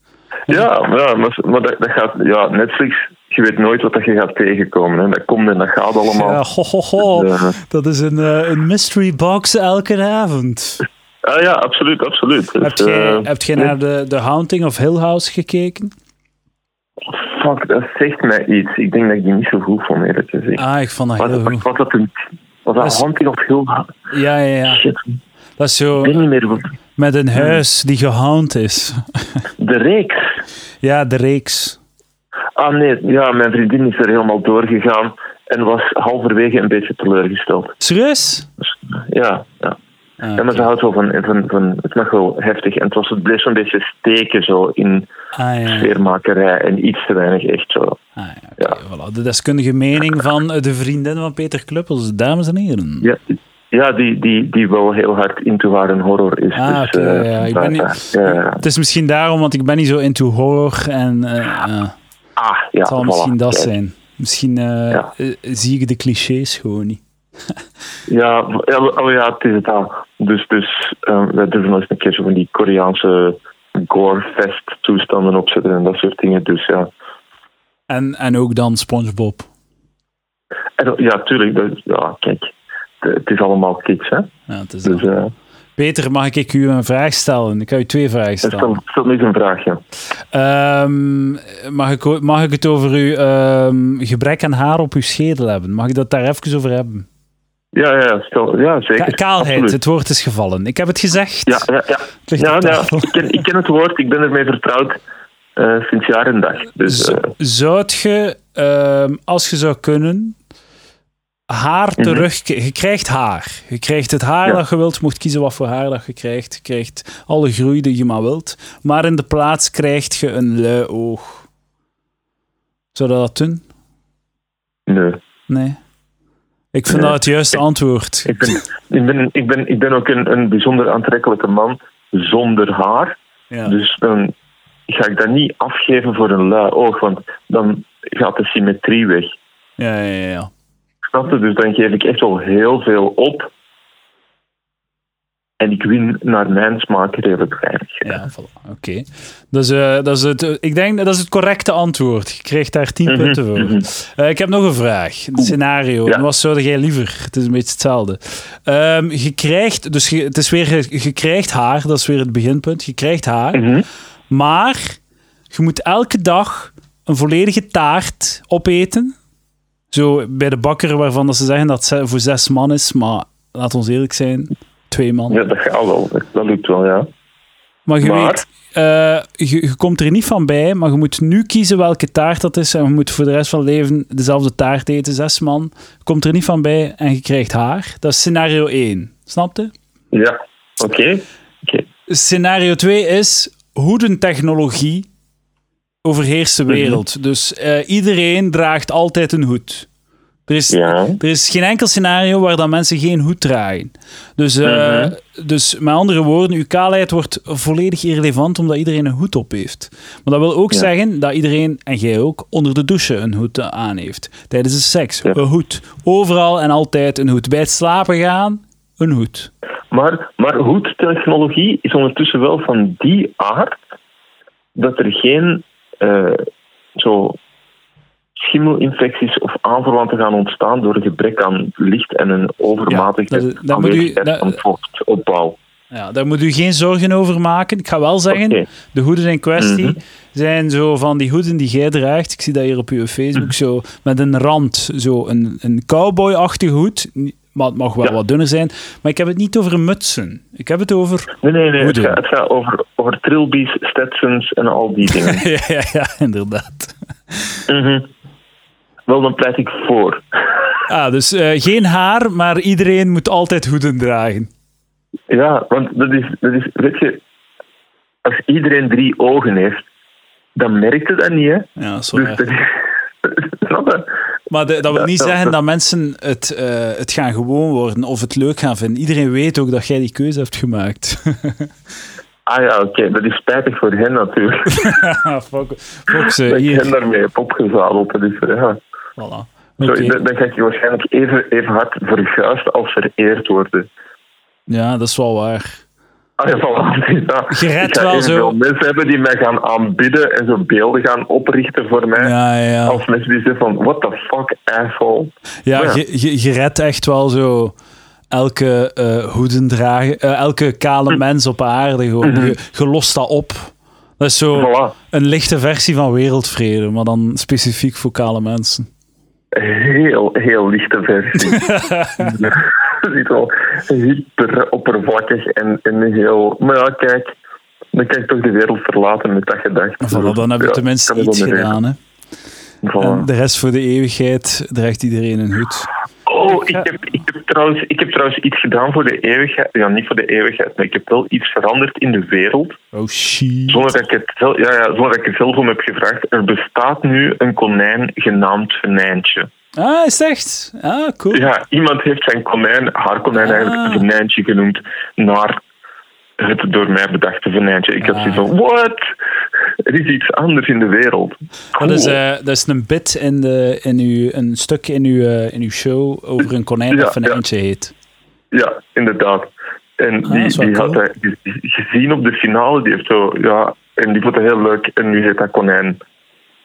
Speaker 5: Ja, maar ja, maar, maar dat, dat gaat, ja, Netflix, je weet nooit wat dat je gaat tegenkomen. Hè. Dat komt en dat gaat allemaal.
Speaker 2: Ja, Dus, ho, ho, ho.
Speaker 5: Ja.
Speaker 2: Dat is een, eh, een mystery box elke avond.
Speaker 5: Ah ja, absoluut, absoluut. Dus,
Speaker 2: Heb jij,
Speaker 5: eh,
Speaker 2: heb jij naar de, de Haunting of Hill House gekeken?
Speaker 5: Fuck, dat zegt mij iets. Ik denk dat ik die niet zo goed vond, eerlijk gezegd.
Speaker 2: Ah, ik vond dat
Speaker 5: was,
Speaker 2: heel
Speaker 5: was,
Speaker 2: goed. Ah.
Speaker 5: was dat een... Was dat
Speaker 2: is-
Speaker 5: Haunting of Hill?
Speaker 2: Ja, ja, ja.
Speaker 5: Shit,
Speaker 2: Dat is
Speaker 5: ik
Speaker 2: zo
Speaker 5: weet niet meer. wat-
Speaker 2: met een huis die gehound is.
Speaker 5: De reeks.
Speaker 2: Ja, de reeks.
Speaker 5: Ah nee, ja, mijn vriendin is er helemaal doorgegaan en was halverwege een beetje teleurgesteld. Dus, eh,
Speaker 2: Serieus?
Speaker 5: Ja, ja.
Speaker 2: Ah,
Speaker 5: En maar ze houdt wel van, van, van, het mag wel heftig. En het, was, het bleef zo'n beetje steken zo in
Speaker 2: Ah, ja.
Speaker 5: sfeermakerij en iets te weinig echt zo.
Speaker 2: Ah, ja, oké, voilà. De deskundige mening van eh, de vriendin van Peter Kluppels, dames en heren.
Speaker 5: Ja, ja die, die, die wel heel hard into haar een horror is.
Speaker 2: Ah,
Speaker 5: dus,
Speaker 2: oké,
Speaker 5: eh,
Speaker 2: ja, ik ben niet-
Speaker 5: ja, ja.
Speaker 2: Het is misschien daarom, want ik ben niet zo into horror en eh, eh,
Speaker 5: Ah, ja,
Speaker 2: het zal
Speaker 5: voilà.
Speaker 2: misschien dat
Speaker 5: Kijk.
Speaker 2: zijn. Misschien eh,
Speaker 5: Ja.
Speaker 2: eh, zie ik de clichés gewoon niet.
Speaker 5: Ja, ja, wel- oh ja, het is het al. Dus, dus ehm, we durven nog eens een keer zo van die Koreaanse gore-fest toestanden opzetten en dat soort dingen. Dus ja,
Speaker 2: En, en ook dan SpongeBob.
Speaker 5: en, dat- ja tuurlijk. Dat, ja, kijk, het, het is allemaal kiks, hè.
Speaker 2: Ja, het is
Speaker 5: Dus
Speaker 2: dat.
Speaker 5: eh
Speaker 2: Peter, mag ik u een vraag stellen? Ik ga u twee vragen
Speaker 5: dat
Speaker 2: stellen.
Speaker 5: is niet een vraagje.
Speaker 2: Ehm, mag, ik, o- mag ik het over uw ehm, gebrek aan haar op uw schedel hebben? Mag ik dat daar even over hebben?
Speaker 5: Ja, ja, ja, stel, ja
Speaker 2: Ka-
Speaker 5: zeker.
Speaker 2: kaalheid,
Speaker 5: Absoluut.
Speaker 2: het woord is gevallen. Ik heb het gezegd.
Speaker 5: Ja, ja, ja.
Speaker 2: ligt
Speaker 5: ja,
Speaker 2: op
Speaker 5: ja.
Speaker 2: tafel.
Speaker 5: Ik, ken, ik ken het woord, ik ben ermee vertrouwd eh, sinds jaar en dag. Dus,
Speaker 2: Z-
Speaker 5: eh,
Speaker 2: zou je, ehm, als je zou kunnen, haar terug... Je krijgt haar. Je krijgt het haar
Speaker 5: Mhm. Ja.
Speaker 2: dat je wilt. Je mocht kiezen wat voor haar dat je krijgt. Je krijgt alle groei die je maar wilt. Maar in de plaats krijgt je een lui oog. Zou je dat doen?
Speaker 5: nee.
Speaker 2: Nee. Ik vind
Speaker 5: Nee.
Speaker 2: dat het juiste antwoord.
Speaker 5: Ik ben, ik ben, ik ben, ik ben ook een, een bijzonder aantrekkelijke man zonder haar.
Speaker 2: Ja.
Speaker 5: Dus dan ga ik dat niet afgeven voor een lui oog, want dan gaat de symmetrie weg.
Speaker 2: Ja, ja, ja, ja.
Speaker 5: Snap je? Dus dan geef ik echt wel heel veel op. En ik win naar mijn smaak redelijk weinig.
Speaker 2: ja voilà. Oké. Dus, eh, dat is het, eh, ik denk dat is het correcte antwoord. Je kreeg daar 10 punten voor. Eh, ik heb nog een vraag. Een scenario.
Speaker 5: Ja.
Speaker 2: En Wat zou jij liever? Het is een beetje hetzelfde. Ehm, je krijgt, dus je, het is weer, je- je krijgt haar, dat is weer het beginpunt. Je krijgt haar. Maar je moet elke dag een volledige taart opeten. Zo bij de bakker waarvan dat ze zeggen dat het voor zes man is. Maar laat ons eerlijk zijn, twee man.
Speaker 5: Ja, dat gaat wel. Dat lukt wel, ja.
Speaker 2: Maar je
Speaker 5: Maar?
Speaker 2: weet, eh, je, je komt er niet van bij, maar je moet nu kiezen welke taart dat is. En je moet voor de rest van het leven dezelfde taart eten, zes man. Je komt er niet van bij en je krijgt haar. Dat is scenario 1. Snapte?
Speaker 5: Ja, oké. Oké.
Speaker 2: Scenario 2 is hoedentechnologie overheerst de wereld. Dus eh, iedereen draagt altijd een hoed. Er is,
Speaker 5: Ja.
Speaker 2: er is geen enkel scenario waar dan mensen geen hoed dragen. Dus, eh, dus met andere woorden, uw kaalheid wordt volledig irrelevant omdat iedereen een hoed op heeft. Maar dat wil ook zeggen dat iedereen, en jij ook, onder de douche een hoed eh, aan heeft. Tijdens de seks, een hoed. Overal en altijd een hoed. Bij het slapen gaan, een hoed.
Speaker 5: Maar, maar hoedtechnologie is ondertussen wel van die aard dat er geen eh, zo schimmelinfecties of aanverwanten gaan ontstaan door gebrek aan licht en een overmatige
Speaker 2: Ja, dat- dat moet u-
Speaker 5: aanwezigheid
Speaker 2: dat-
Speaker 5: van vochtopbouw.
Speaker 2: Ja, daar moet u geen zorgen over maken. Ik ga wel zeggen,
Speaker 5: Oké. Mhm.
Speaker 2: de hoeden in kwestie zijn zo van die hoeden die jij draagt. Ik zie dat hier op uw
Speaker 5: Mhm.
Speaker 2: Facebook zo met een rand, zo een, een cowboy-achtige hoed. Ni- Maar het mag wel
Speaker 5: Ja.
Speaker 2: wat dunner zijn. Maar ik heb het niet over mutsen. Ik heb het over.
Speaker 5: Nee, nee, nee. Het
Speaker 2: Hoeden.
Speaker 5: gaat, het gaat over, over trilbies, Stetsons en al die dingen.
Speaker 2: ja, ja, ja, inderdaad.
Speaker 5: Mhm. Wel, dan pleit ik voor.
Speaker 2: Ah, dus eh, geen haar, maar iedereen moet altijd hoeden dragen.
Speaker 5: Ja, want dat is, dat is, weet je, als iedereen drie ogen heeft, dan merkt het dat niet, hè?
Speaker 2: Ja, sorry.
Speaker 5: Dus dat is. Snap je?
Speaker 2: Maar de- dat wil
Speaker 5: Dat-
Speaker 2: niet
Speaker 5: dat-
Speaker 2: zeggen
Speaker 5: dat-
Speaker 2: dat mensen het, eh, het gaan gewoon worden of het leuk gaan vinden. Iedereen weet ook dat jij die keuze hebt gemaakt.
Speaker 5: Ah ja, oké, dat is spijtig voor hen natuurlijk.
Speaker 2: Ah, fuck, fuck ze,
Speaker 5: Dat ik
Speaker 2: hier.
Speaker 5: hen daarmee heb opgezadeld. Dat is, ja.
Speaker 2: Voilà.
Speaker 5: Zo,
Speaker 2: Oké.
Speaker 5: dan, dan ga ik je waarschijnlijk even, even hard verguisd als vereerd worden.
Speaker 2: Ja, dat is wel waar.
Speaker 5: Ah ja, voilà. Ja.
Speaker 2: Je redt
Speaker 5: Ik ga
Speaker 2: wel
Speaker 5: evenveel
Speaker 2: zo.
Speaker 5: mensen hebben die mij gaan aanbidden en zo beelden gaan oprichten voor mij.
Speaker 2: Ja, ja, ja.
Speaker 5: Als mensen die zeggen van, what the fuck, asshole.
Speaker 2: ja
Speaker 5: Oh, ja.
Speaker 2: je, je, je redt echt wel zo elke eh hoedendrager, eh, elke
Speaker 5: Hm.
Speaker 2: kale mens op aarde. Gewoon. Je, je lost dat op. Dat is zo
Speaker 5: Mhm. Voilà.
Speaker 2: een lichte versie van wereldvrede, maar dan specifiek voor kale mensen.
Speaker 5: heel, heel lichte versie. Het is wel hyper oppervlakkig en, en heel... Maar ja, kijk, dan kan je toch de wereld verlaten met dat gedacht.
Speaker 2: Voilà, dan heb je
Speaker 5: Ja,
Speaker 2: tenminste
Speaker 5: kan ik
Speaker 2: iets
Speaker 5: wel mee
Speaker 2: gedaan. Hè.
Speaker 5: leven. Voilà.
Speaker 2: En de rest voor de eeuwigheid draagt iedereen een hoed.
Speaker 5: Oh, ik heb, ik, heb trouwens, ik heb trouwens iets gedaan voor de eeuwigheid. Ja, niet voor de eeuwigheid, maar ik heb wel iets veranderd in de wereld.
Speaker 2: Oh, shit.
Speaker 5: Zonder dat ik het zelf, ja, ja, zonder dat ik het zelf om heb gevraagd. Er bestaat nu een konijn genaamd Venijntje.
Speaker 2: Ah, is het echt? Ah, cool.
Speaker 5: Ja, iemand heeft zijn konijn, haar konijn
Speaker 2: Ah.
Speaker 5: eigenlijk, venijntje genoemd. Naar het door mij bedachte venijntje. Ik
Speaker 2: Ah.
Speaker 5: had zoiets van, what? Er is iets anders in de wereld.
Speaker 2: Dat is,
Speaker 5: Cool.
Speaker 2: eh, dat is een bit in, de, in uw, een stuk in uw, eh, in uw show over een konijn dat
Speaker 5: Ja,
Speaker 2: een
Speaker 5: ja.
Speaker 2: eentje heet.
Speaker 5: Ja, inderdaad. En
Speaker 2: Ah, dat is
Speaker 5: die,
Speaker 2: wel
Speaker 5: die had
Speaker 2: cool.
Speaker 5: hij ge- ge- gezien op de finale. Die heeft zo, ja, en die vond het heel leuk. En nu heet dat konijn.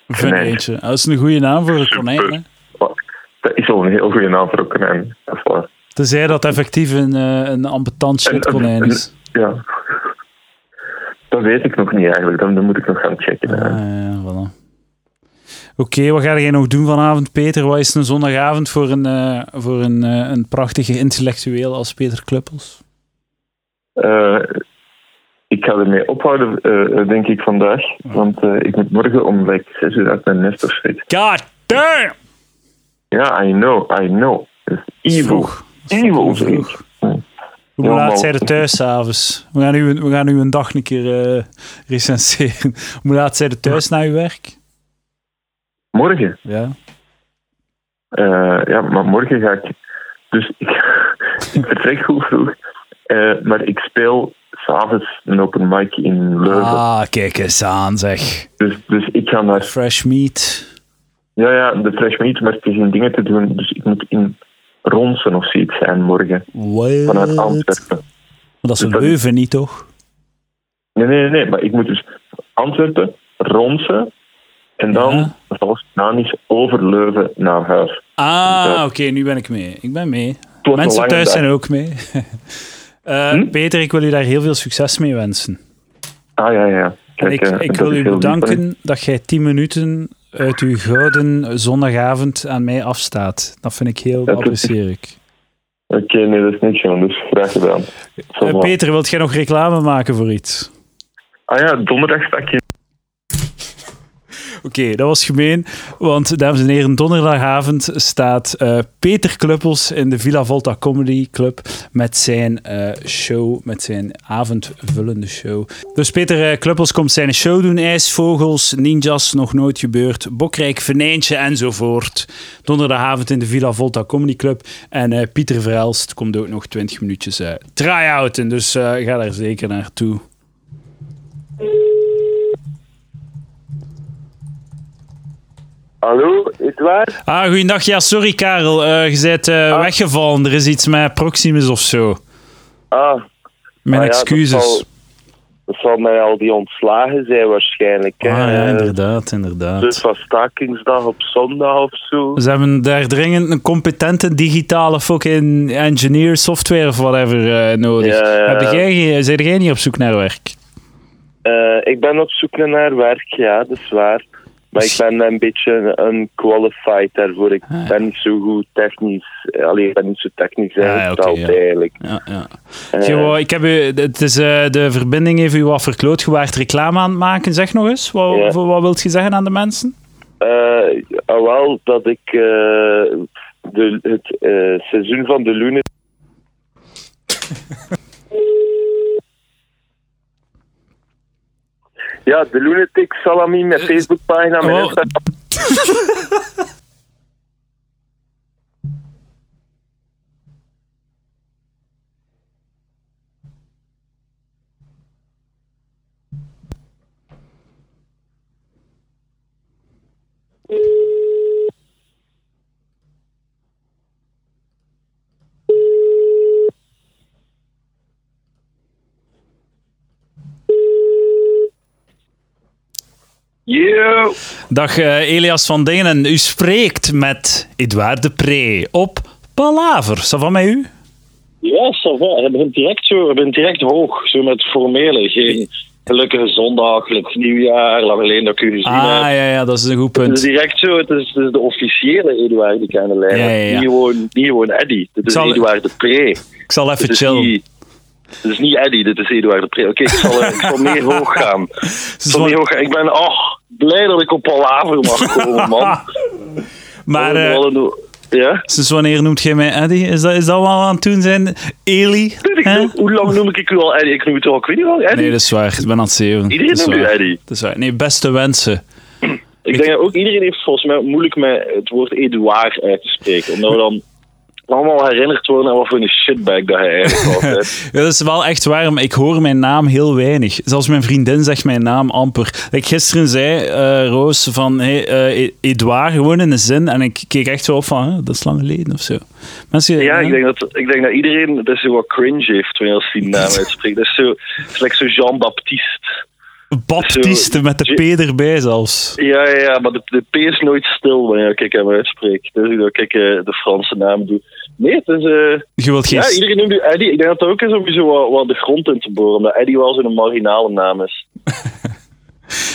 Speaker 2: Of een
Speaker 5: Konijn.
Speaker 2: eentje. Ah, Dat is een goede naam voor een konijn. Hè?
Speaker 5: Wat- Dat is wel een heel goede naam voor een konijn. Dat is waar.
Speaker 2: Tenzij dat effectief een, eh, een ambetant shitkonijn is.
Speaker 5: Ja. Dat weet ik nog niet eigenlijk. Dat, dat moet ik nog gaan checken.
Speaker 2: Ah,
Speaker 5: eigenlijk.
Speaker 2: ja, voilà. Oké, wat ga jij nog doen vanavond, Peter? Wat is een zondagavond voor een, eh, voor een, eh, een prachtige intellectueel als Peter Kluppels?
Speaker 5: Eh, ik ga ermee ophouden, eh, denk ik, vandaag. Want eh, ik moet morgen om like, 6 uur uit mijn nest of zoiets.
Speaker 2: God damn!
Speaker 5: Ja, I know, I know. Dat is evil.
Speaker 2: Vroeg.
Speaker 5: Evil,
Speaker 2: Vroeg.
Speaker 5: zeg ik.
Speaker 2: Hoe
Speaker 5: Ja,
Speaker 2: laat
Speaker 5: maar-
Speaker 2: zijn er thuis s'avonds? We, gaan u- we gaan u een dag een keer eh, recenseren. Hoe laat zijn er thuis na uw werk?
Speaker 5: Morgen.
Speaker 2: Ja.
Speaker 5: Eh, ja, maar morgen ga ik. Dus ik, ik vertrek goed vroeg. Eh, maar ik speel s'avonds een open mic in Leuven.
Speaker 2: Ah, kijk eens aan, zeg.
Speaker 5: Dus, dus ik ga naar.
Speaker 2: Fresh meat.
Speaker 5: Ja, ja, de fresh meet, maar het is geen dingen te doen. Dus ik moet in Ronsen of zoiets zijn morgen.
Speaker 2: What?
Speaker 5: Vanuit Antwerpen.
Speaker 2: Maar dat is
Speaker 5: Dus dat-
Speaker 2: Leuven niet, toch?
Speaker 5: Nee, nee, nee, nee, maar ik moet dus Antwerpen, Ronsen. En dan, volgens mij, is over Leuven naar huis.
Speaker 2: Ah, oké,
Speaker 5: Ja.
Speaker 2: nu ben ik mee. Ik ben mee.
Speaker 5: Het wordt Hm?
Speaker 2: Mensen
Speaker 5: een lange
Speaker 2: thuis
Speaker 5: dag.
Speaker 2: zijn ook mee. Eh, Peter, ik wil u daar heel veel succes mee wensen.
Speaker 5: Ah, ja, ja.
Speaker 2: En
Speaker 5: Kijk,
Speaker 2: ik,
Speaker 5: eh,
Speaker 2: ik
Speaker 5: dat
Speaker 2: wil
Speaker 5: is
Speaker 2: u
Speaker 5: heel lief van
Speaker 2: bedanken dat jij 10 minuten uit uw gouden zondagavond aan mij afstaat. Dat vind ik heel, dat
Speaker 5: Dat is-
Speaker 2: apprecieer ik.
Speaker 5: Oké, nee, dat is niks, jongen. Dus graag gedaan. Zo
Speaker 2: Eh,
Speaker 5: maar.
Speaker 2: Peter, wilt jij nog reclame maken voor iets?
Speaker 5: Ah ja, donderdag sta ik in
Speaker 2: dat was gemeen. Want, dames en heren, donderdagavond staat eh, Peter Kluppels in de Villa Volta Comedy Club met zijn eh, show, met zijn avondvullende show. Dus Peter eh, Kluppels komt zijn show doen. IJsvogels, Ninjas, Nog Nooit Gebeurd, Bokrijk, Venijntje enzovoort. Donderdagavond in de Villa Volta Comedy Club. En eh, Pieter Verhelst komt ook nog 20 minuutjes eh try-outen. Dus eh, ga daar zeker naartoe.
Speaker 4: Hallo, Edouard?
Speaker 2: Ah, goeiedag. Ja, sorry Karel. Eh, je bent eh, weggevallen. Er is iets met Proximus of zo.
Speaker 4: Ah,
Speaker 2: Mijn
Speaker 4: ah ja, Dat zal,
Speaker 2: excuses.
Speaker 4: dat zal met al die ontslagen zijn waarschijnlijk. hè.
Speaker 2: ah ja,
Speaker 4: Eh,
Speaker 2: inderdaad, inderdaad.
Speaker 4: Dus van stakingsdag op zondag of zo.
Speaker 2: Ze hebben daar dringend een competente digitale fucking engineer, software of whatever eh, nodig.
Speaker 4: Ja, ja,
Speaker 2: Heb
Speaker 4: ja.
Speaker 2: jij, geen- zijn jij niet op zoek naar werk?
Speaker 4: Eh, ik ben op zoek naar werk, ja, dat is waar. Maar ik ben een beetje unqualified daarvoor.
Speaker 2: Ah,
Speaker 4: Ik ben niet zo goed technisch. eh, Allee, ik ben niet zo technisch ingesteld
Speaker 2: oké, Ah, ja.
Speaker 4: eigenlijk.
Speaker 2: Ja, ja.
Speaker 4: Eh,
Speaker 2: Zeg, wou- ik heb u, het is, eh, de verbinding heeft u wat verkloot. Je waart reclame aan het maken. Zeg nog eens, wat,
Speaker 4: Ja.
Speaker 2: wat, wat wilt je zeggen aan de mensen?
Speaker 4: eh, ah, wel, dat ik eh, de, het eh, seizoen van de Loenen... Ja, de Lunatic Salami, mijn Facebookpagina, mijn
Speaker 2: Oh.
Speaker 4: Instagram. Yo!
Speaker 2: Dag eh, Elias van Dingen. U spreekt met Edouard de Pre op Palaver. Is dat van mij u?
Speaker 5: Ja, ça va. Je begint direct, zo, je begint direct hoog, zo met formele. Geen gelukkige zondag, gelukkig nieuwjaar, laat alleen dat ik u gezien
Speaker 2: Ah,
Speaker 5: heb.
Speaker 2: ja, ja, dat is een goed
Speaker 5: Het is
Speaker 2: punt.
Speaker 5: direct zo, het is, het is de officiële Eduard die ik aan de lijn
Speaker 2: Ja,
Speaker 5: heb.
Speaker 2: ja, ja.
Speaker 5: Niet, gewoon, niet gewoon Eddy, dit is
Speaker 2: zal-
Speaker 5: Eduard de Pre.
Speaker 2: Ik zal
Speaker 5: Dit
Speaker 2: even
Speaker 5: is
Speaker 2: chillen.
Speaker 5: niet... Dit is niet Eddy, dit is Eduard de Pre. Oké, ik, zal, eh, ik zal meer hoog gaan. Ik, zal meer hoog gaan. ik ben, oh, blij dat ik op Palaver mag komen, man.
Speaker 2: Maar eh,
Speaker 5: Wat een- ja?
Speaker 2: sinds wanneer noemt jij mij Eddy? Is dat, is dat wat we aan het doen zijn? Eli?
Speaker 5: Ik
Speaker 2: Hè?
Speaker 5: noem- Hoe lang noem ik u al Eddy? Ik noem het al, ik weet niet lang, Eddy.
Speaker 2: Nee, dat is waar. Ik ben aan het zeven.
Speaker 5: Iedereen
Speaker 2: Dat is
Speaker 5: noemt u
Speaker 2: waar.
Speaker 5: Eddy.
Speaker 2: Dat is waar. Nee, beste wensen.
Speaker 5: Ik denk dat ook iedereen heeft volgens mij moeilijk met het woord Edouard uit te spreken. Omdat we dan allemaal herinnerd worden aan wat voor een shitbag dat hij eigenlijk was. hè.
Speaker 2: Ja, dat is wel echt waar, maar ik hoor mijn naam heel weinig. Zelfs mijn vriendin zegt mijn naam amper. Ik gisteren zei, eh, Roos, van hey, eh, E- Edouard, gewoon in de zin. En ik keek echt zo op van, hè, dat is lang geleden of zo. Mensen, eh,
Speaker 5: Ja,
Speaker 2: hè?
Speaker 5: ik denk, dat, ik denk dat iedereen dat zo wat cringe heeft wanneer als hij die naam uitspreekt. Dat is zo, het is like zo Jean-Baptiste.
Speaker 2: Baptiste
Speaker 5: Zo-
Speaker 2: met de P erbij zelfs.
Speaker 5: Ja, ja, ja, maar de, de P is nooit stil wanneer ik hem uitspreek. Dus dat ik eh, de Franse naam doe. Nee, het is... eh,
Speaker 2: Je wilt geen...
Speaker 5: ja, iedereen noemt nu Eddie. Ik denk dat dat ook is om je zo wat, wat de grond in te boren. Omdat Eddie wel zo'n marginale naam is.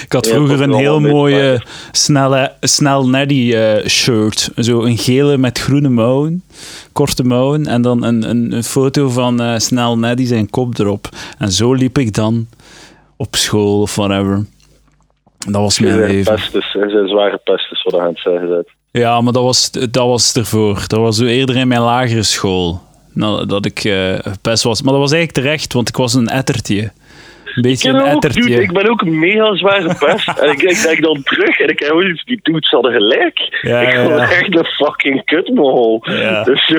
Speaker 2: Ik had
Speaker 5: Ja,
Speaker 2: vroeger
Speaker 5: dat
Speaker 2: een
Speaker 5: wel
Speaker 2: heel
Speaker 5: een beetje
Speaker 2: mooie snelle, snel neddy eh, shirt. Zo een gele met groene mouwen, korte mouwen. En dan een, een, een foto van eh, snel neddy zijn kop erop. En zo liep ik dan op school of whatever. Dat was mijn
Speaker 5: Ze
Speaker 2: leven.
Speaker 5: zijn pestes, hè. Ze zijn zware pestes, wat hij aan het zeggen bent.
Speaker 2: Ja, maar dat was, dat was ervoor. Dat was zo eerder in mijn lagere school. Nou, dat ik eh gepest was. Maar dat was eigenlijk terecht, want ik was een ettertje. Een beetje een
Speaker 5: ook,
Speaker 2: ettertje.
Speaker 5: dude, ik ben ook mega zwaar gepest. en ik, ik denk dan terug en ik heb zoiets, die dudes hadden gelijk.
Speaker 2: Ja,
Speaker 5: ik
Speaker 2: ja,
Speaker 5: vond
Speaker 2: ja.
Speaker 5: echt een fucking kutmol.
Speaker 2: Ja.
Speaker 5: Dus zo,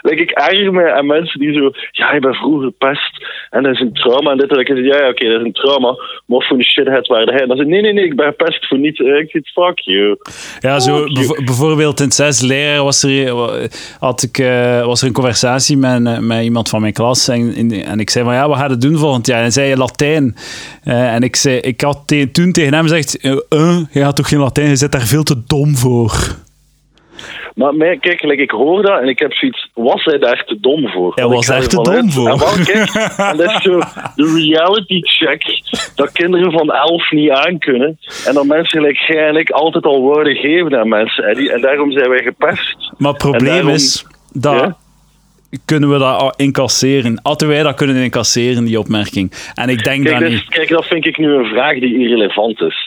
Speaker 5: like, ik erger me aan mensen die zo, ja, ik ben vroeger gepest en dat is een trauma en dit en dat. Ik zeg, ja, ja, oké, dat is een trauma, maar wat voor een shithead waren hij? En dan zeg ik, nee, nee, nee, ik ben gepest voor niets. Eh, Ik zeg, fuck you.
Speaker 2: Ja, zo
Speaker 5: Fuck
Speaker 2: bijvo- bijvoorbeeld in het zesde leraar was er, had ik, eh, was er een conversatie met, eh, met iemand van mijn klas. En, in- en ik zei van ja, wat gaat het doen volgend jaar? En hij zei Latijn. Eh, en ik, zei, ik had te- toen tegen hem gezegd, eh, eh, je gaat toch geen Latijn? Je zit daar veel te dom voor.
Speaker 5: Maar mij, kijk, like, ik hoor dat en ik heb zoiets. Was hij daar te dom voor?
Speaker 2: Hij was
Speaker 5: Want ik ga
Speaker 2: daar te
Speaker 5: ervan
Speaker 2: dom
Speaker 5: uit-
Speaker 2: voor.
Speaker 5: En,
Speaker 6: Oh,
Speaker 5: wel, kijk, en dat is zo de reality check dat kinderen van elf niet aankunnen. En dat mensen gelijk jij en ik altijd al woorden geven aan mensen. Eddie, en daarom zijn wij gepest.
Speaker 2: Maar het
Speaker 5: En
Speaker 2: probleem
Speaker 5: daarom-
Speaker 2: is, dat
Speaker 5: Ja?
Speaker 2: kunnen we dat al incasseren. Hadden wij dat kunnen incasseren, die opmerking. En ik denk
Speaker 5: Kijk dus
Speaker 6: dus
Speaker 2: dat
Speaker 5: dat,
Speaker 2: niet.
Speaker 5: is- kijk, dat vind ik nu een vraag die irrelevant is.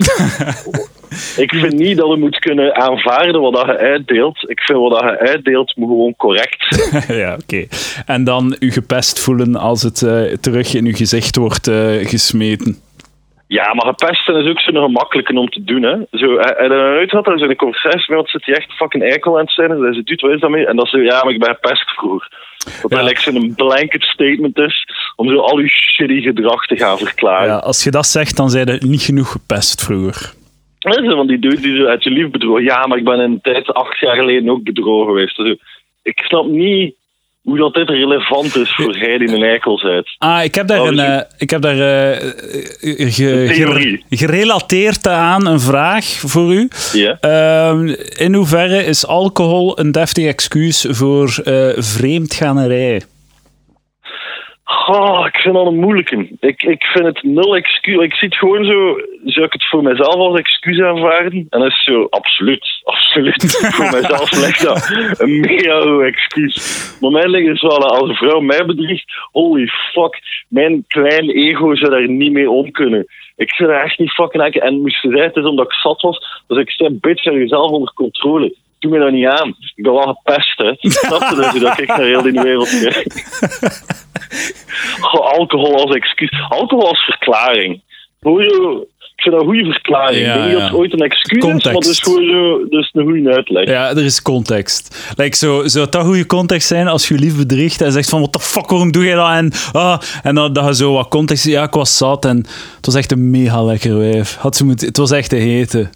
Speaker 6: Ik vind niet dat je moet kunnen aanvaarden wat dat je uitdeelt. Ik vind wat dat je uitdeelt moet gewoon correct zijn.
Speaker 2: ja, oké. En dan u gepest voelen als het eh, terug in uw gezicht wordt eh, gesmeten.
Speaker 6: Ja, maar pesten is ook zo'n gemakkelijke om te doen. Hè. Zo, en dan nooit had er zo'n conversatie met iemand zit die echt fucking eikel aan het zijn. En dan zegt, dude, wat is dat mee? En dan zo, ja, maar ik ben gepest vroeger. Wat
Speaker 2: Ja.
Speaker 6: eigenlijk zo'n blanket statement is om zo al uw shitty gedrag te gaan verklaren.
Speaker 2: Ja, als je dat zegt, dan zijn er niet genoeg gepest vroeger.
Speaker 6: Ja, zo van die dude die zo uit je lief bedrogen. Ja, maar ik ben een tijd acht jaar geleden ook bedrogen geweest. Dus ik snap niet hoe dat dit relevant is voor jij die een eikel bent.
Speaker 2: Ah, ik heb daar,
Speaker 6: Oh,
Speaker 2: een,
Speaker 6: dus je-
Speaker 2: eh, ik heb daar eh, eh, ge-
Speaker 6: theorie.
Speaker 2: gerelateerd aan een vraag voor u.
Speaker 6: Ja.
Speaker 2: Ehm, in hoeverre is alcohol een deftig excuus voor eh vreemdganerij?
Speaker 6: Goh, ik vind dat een moeilijke. Ik, ik vind het nul excuus. Ik zie het gewoon zo, zou ik het voor mezelf als excuus aanvaarden? En dat is zo, absoluut, absoluut. voor mezelf lijkt dat een mega goed excuus. Maar mijn ding is wel, als een vrouw mij bedriegt, holy fuck, mijn klein ego zou daar niet mee om kunnen. Ik zou daar echt niet fucking aan En moest ze zeggen, het is omdat ik zat was, dus ik zei, bitch, heb jezelf onder controle. Doe me dat niet aan. Ik ben wel gepest, hè. Snap je dat, dat ik naar heel die wereld kijk? Goh, alcohol als excuus. Alcohol als verklaring. Hoe je- ik vind dat een goede
Speaker 2: Ja,
Speaker 6: verklaring. ik denk niet
Speaker 2: ja.
Speaker 6: dat het ooit een excuus is, maar dus
Speaker 2: Context.
Speaker 6: dat is, gewoon zo, dat is een goede uitleg.
Speaker 2: Ja, er is context. Like, zo, zou dat goede context zijn als je je lief bedriegt en zegt van, what the fuck, waarom doe je dat? En, ah, en dan, dat je zo wat context... Ja, ik was zat en het was echt een mega lekker wijf. Had ze moeten, het was echt te hete.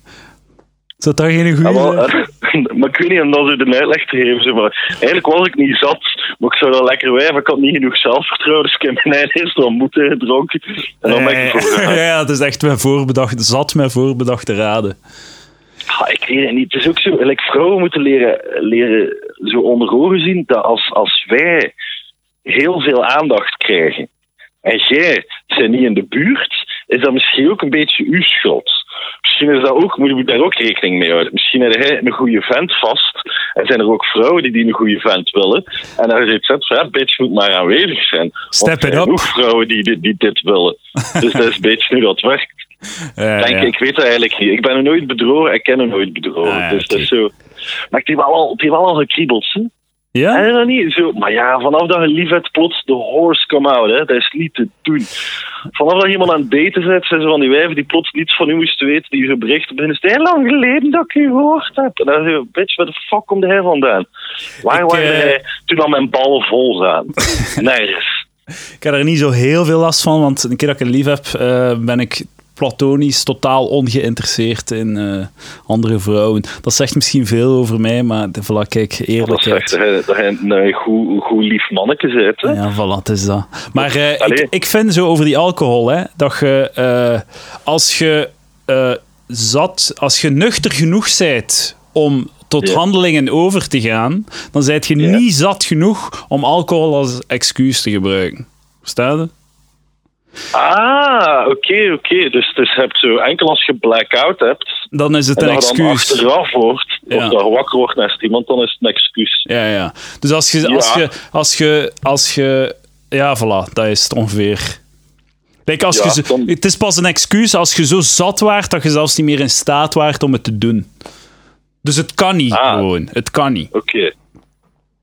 Speaker 2: Zou dat geen
Speaker 6: Ja,
Speaker 2: goede...
Speaker 6: maar, eh, maar ik weet niet om dat zo de uitleg te geven. zeg maar. Eigenlijk was ik niet zat, maar ik zou dat lekker wijven. Ik had niet genoeg zelfvertrouwen, dus ik heb mijn eigen eerst wel moeten gedronken. En dan ben ik ervoor
Speaker 2: ja,
Speaker 6: gegaan.
Speaker 2: ja, het is echt mijn voorbedachte... Zat mijn voorbedachte raden.
Speaker 6: Ah, ik weet het niet. Het is ook zo. Like, vrouwen moeten leren, leren zo onder ogen zien dat als, als wij heel veel aandacht krijgen en jij zijn niet in de buurt, is dat misschien ook een beetje uw schuld. Misschien is dat ook, moet je daar ook rekening mee houden. Misschien heb jij een goede vent vast. En zijn er ook vrouwen die, die een goede vent willen. En dan zit het van, ja, bitch moet maar aanwezig zijn.
Speaker 2: Step it
Speaker 6: Want er zijn
Speaker 2: up.
Speaker 6: ook vrouwen die, dit- die dit willen. Dus dat is een beetje nu dat werkt.
Speaker 2: Ja,
Speaker 6: Denk,
Speaker 2: Eh, ja.
Speaker 6: Ik weet dat eigenlijk niet. Ik ben er nooit bedrogen, ik ken er nooit bedrogen.
Speaker 2: Ah, ja,
Speaker 6: dus dat is zo. Maar ik heb wel al, ik heb wel al gekriebeld. Hè?
Speaker 2: Ja?
Speaker 6: En dat niet zo. Maar ja, vanaf dat je lief hebt, plots de horse come out. Hè? Dat is niet te doen. Vanaf dat je iemand aan het daten zet, zijn ze van die wijven die plots niets van u moesten weten, die je berichten beginnen. Het is heel lang geleden dat ik u gehoord heb. En dan zeg je, bitch, waar de fuck komt hij vandaan? Waar
Speaker 2: Ik,
Speaker 6: waren
Speaker 2: eh,
Speaker 6: hij toen al mijn ballen vol zijn? Nergens.
Speaker 2: Ik heb er niet zo heel veel last van, want een keer dat ik een lief heb, eh, ben ik platonisch totaal ongeïnteresseerd in eh, andere vrouwen. Dat zegt misschien veel over mij, maar de- voilà, kijk,
Speaker 6: Dat zegt
Speaker 2: eerlijkheid.
Speaker 6: dat je, dat je een eh, goed, goed lief manneke bent. Hè?
Speaker 2: Ja, voilà, het is dat. Maar eh, ik,
Speaker 6: Allee.
Speaker 2: ik vind zo over die alcohol, hè, dat je eh, als je eh, zat, als je nuchter genoeg bent om tot
Speaker 6: Ja.
Speaker 2: handelingen over te gaan, dan zijt je
Speaker 6: Ja.
Speaker 2: niet zat genoeg om alcohol als excuus te gebruiken. Verstaan je?
Speaker 6: Ah, oké, oké. Dus, dus je hebt zo, enkel als je blackout hebt,
Speaker 2: Dan is het
Speaker 6: en
Speaker 2: een
Speaker 6: dat je dan
Speaker 2: excuus.
Speaker 6: achteraf wordt,
Speaker 2: Ja.
Speaker 6: of dat je wakker wordt naast iemand, dan is het een excuus.
Speaker 2: Ja, ja. Dus als je, als
Speaker 6: Ja.
Speaker 2: je, als je, als je, ja, voilà, dat is het ongeveer. Kijk, als
Speaker 6: Ja,
Speaker 2: je, zo-
Speaker 6: dan-
Speaker 2: Het is pas een excuus als je zo zat waart dat je zelfs niet meer in staat waart om het te doen. Dus het kan niet
Speaker 6: Ah.
Speaker 2: gewoon. Het kan niet.
Speaker 6: Oké.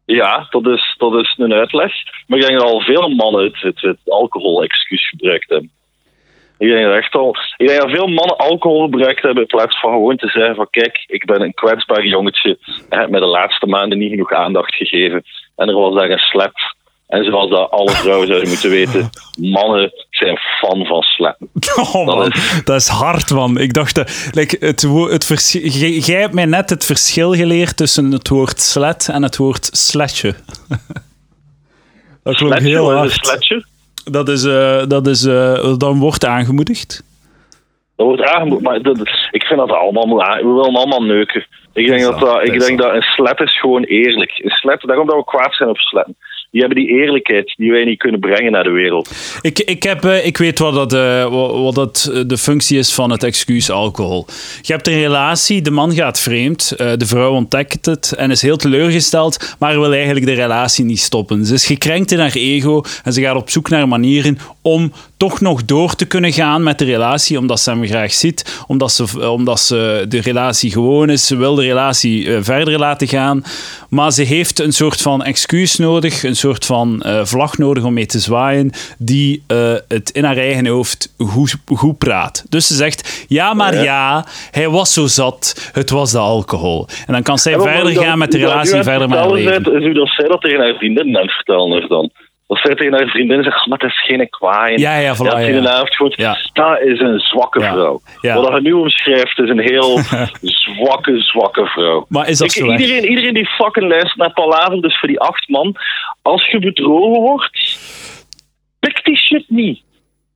Speaker 6: Ja, dat is, dat is een uitleg. Maar ik denk dat al veel mannen het, het, het alcohol-excuus gebruikt hebben. Ik denk, dat echt al, ik denk dat veel mannen alcohol gebruikt hebben in plaats van gewoon te zeggen van kijk, ik ben een kwetsbaar jongetje. Je hebt mij de laatste maanden niet genoeg aandacht gegeven. En er was daar een slap. En zoals dat alle vrouwen zouden moeten weten, mannen zijn fan van slap.
Speaker 2: Oh man,
Speaker 6: Dat
Speaker 2: dat is hard man. Ik dacht, dat, like, het, wo- het verschil, jij, jij hebt mij net het verschil geleerd tussen het woord slet en het woord sletje. Dat klopt
Speaker 6: Sletje,
Speaker 2: heel
Speaker 6: wat is een
Speaker 2: hard.
Speaker 6: sletje?
Speaker 2: Dat is, eh, dat is eh, dan wordt aangemoedigd.
Speaker 6: Dat wordt aangemoedigd, maar dat- ik vind dat allemaal moet aan- We willen allemaal eh, neuken. Ik denk dat, dat, ik denk dat een slet is gewoon eerlijk. Een slet, daarom dat we kwaad zijn op sletten. die hebben die eerlijkheid die wij niet kunnen brengen naar de wereld.
Speaker 2: Ik, ik, heb, eh, ik weet wat, dat, eh, wa- wat dat eh, de functie is van het excuus alcohol. Je hebt een relatie, de man gaat vreemd, eh, de vrouw ontdekt het en is heel teleurgesteld, maar wil eigenlijk de relatie niet stoppen. Ze is gekrenkt in haar ego en ze gaat op zoek naar manieren om toch nog door te kunnen gaan met de relatie, omdat ze hem graag ziet, omdat ze, eh, omdat ze de relatie gewoon is. Ze wil de relatie eh, verder laten gaan, maar ze heeft een soort van excuus nodig, een soort van eh, vlag nodig om mee te zwaaien, die eh, het in haar eigen hoofd goed, goed praat. Dus ze zegt, ja
Speaker 6: Oh
Speaker 2: maar ja, hij was zo zat, het was de alcohol. En dan kan zij
Speaker 6: En wat
Speaker 2: verder
Speaker 6: ik dan-
Speaker 2: gaan met de
Speaker 6: wat ik nu aan
Speaker 2: relatie,
Speaker 6: het
Speaker 2: verder met haar
Speaker 6: vertellen
Speaker 2: leven.
Speaker 6: bent, Is hoe dat zij dat tegen haar vriendinnen aan het vertellen is dan. Dat zij tegen haar vriendinnen zegt, "Ah, maar dat is geen kwaai.
Speaker 2: Ja, ja, voilà,
Speaker 6: dat
Speaker 2: ja,
Speaker 6: in
Speaker 2: ja.
Speaker 6: de avond gewoon,
Speaker 2: Ja.
Speaker 6: nou, dat is een zwakke
Speaker 2: Ja.
Speaker 6: vrouw.
Speaker 2: Ja.
Speaker 6: Wat hij nu omschrijft is een heel zwakke, zwakke vrouw.
Speaker 2: Maar is dat
Speaker 6: Ik-
Speaker 2: zo erg?
Speaker 6: iedereen, iedereen die fucking luistert naar Palaver, dus voor die acht man. Als je bedrogen wordt, pik die shit niet.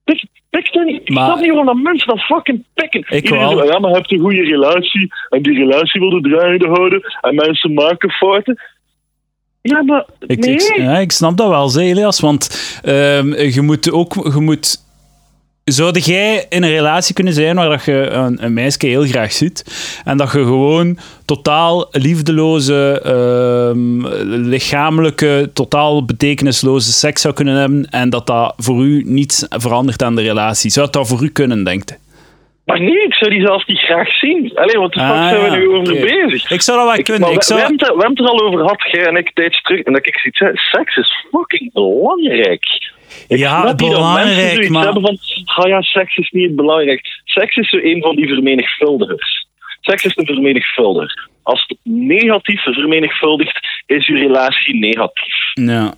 Speaker 6: Pik, pik dat niet. Ik
Speaker 2: Maar-
Speaker 6: snap niet waarom dat mensen dat fucking pikken. Iedereen
Speaker 2: wel.
Speaker 6: zo, ja, maar je hebt een goede relatie. En die relatie wil de draaiende houden. En mensen maken fouten. Ja, maar
Speaker 2: Ik,
Speaker 6: nee.
Speaker 2: ik, ja, ik snap dat wel, zeg Elias. Want ehm, je moet ook. Je moet, zou jij in een relatie kunnen zijn waar dat je een, een meisje heel graag ziet en dat je gewoon totaal liefdeloze, ehm, lichamelijke, totaal betekenisloze seks zou kunnen hebben en dat dat voor u niets verandert aan de relatie? Zou dat voor u kunnen, denkt hij?
Speaker 6: Maar nee, ik zou die zelfs niet graag zien. Allee, wat de fuck
Speaker 2: Ah,
Speaker 6: zijn we
Speaker 2: ja,
Speaker 6: nu over
Speaker 2: oké.
Speaker 6: bezig?
Speaker 2: Ik zou dat wel kunnen.
Speaker 6: maar
Speaker 2: Ik
Speaker 6: we, we
Speaker 2: zou,
Speaker 6: hebben het, er- we hebben het er al over gehad, jij en ik, tijdens terug. En dat ik zoiets zei, seks is fucking belangrijk. Ik
Speaker 2: Ja,
Speaker 6: snap niet dat mensen
Speaker 2: belangrijk,
Speaker 6: zoiets
Speaker 2: maar-
Speaker 6: hebben van, ah ja, seks is niet het belangrijkste. Seks is zo een van die vermenigvuldigers. Seks is een vermenigvuldiger. Als het negatief vermenigvuldigt, is je relatie negatief.
Speaker 2: ja.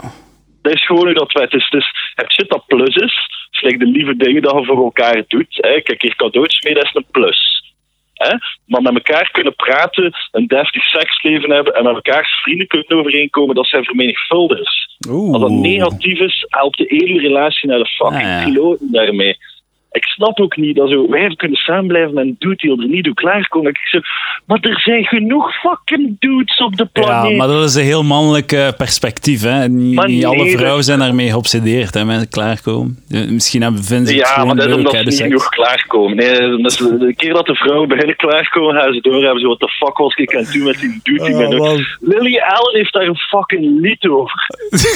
Speaker 6: Dat is gewoon hoe dat wij. Het is, het is het shit dat plus is. Het is like de lieve dingen dat je voor elkaar doet. Hè. Kijk, hier cadeautjes mee, dat is een plus. Hè? Maar met elkaar kunnen praten, een deftig seksleven hebben en met elkaars vrienden kunnen overeenkomen, dat zijn vermenigvuldigers. Als dat negatief is, helpt de hele relatie naar de fucking
Speaker 2: Ah, ja.
Speaker 6: piloten daarmee. Ik snap ook niet dat zo, wij kunnen samen blijven met een dude die er niet toe klaarkomt. Ik zeg, maar er zijn genoeg fucking dudes op de
Speaker 2: Ja,
Speaker 6: planeet.
Speaker 2: maar dat is een heel mannelijk eh, perspectief. Hè? Niet,
Speaker 6: Oh, Maar
Speaker 2: niet
Speaker 6: nee,
Speaker 2: alle
Speaker 6: dat-
Speaker 2: vrouwen zijn daarmee geobsedeerd hè, met klaarkomen. Eh, Misschien hebben vinden ze het
Speaker 6: Ja, maar
Speaker 2: gewoon
Speaker 6: dat is
Speaker 2: leuk,
Speaker 6: omdat
Speaker 2: hè, dus
Speaker 6: ze
Speaker 2: de
Speaker 6: niet
Speaker 2: seks.
Speaker 6: genoeg klaarkomen. Nee, omdat ze- de keer dat de vrouwen beginnen klaarkomen, gaan ze doorhebben. Zo, wat de fuck was ik aan het doen met die dude
Speaker 2: Oh,
Speaker 6: die mij nog- Lily Allen heeft daar een fucking lied over.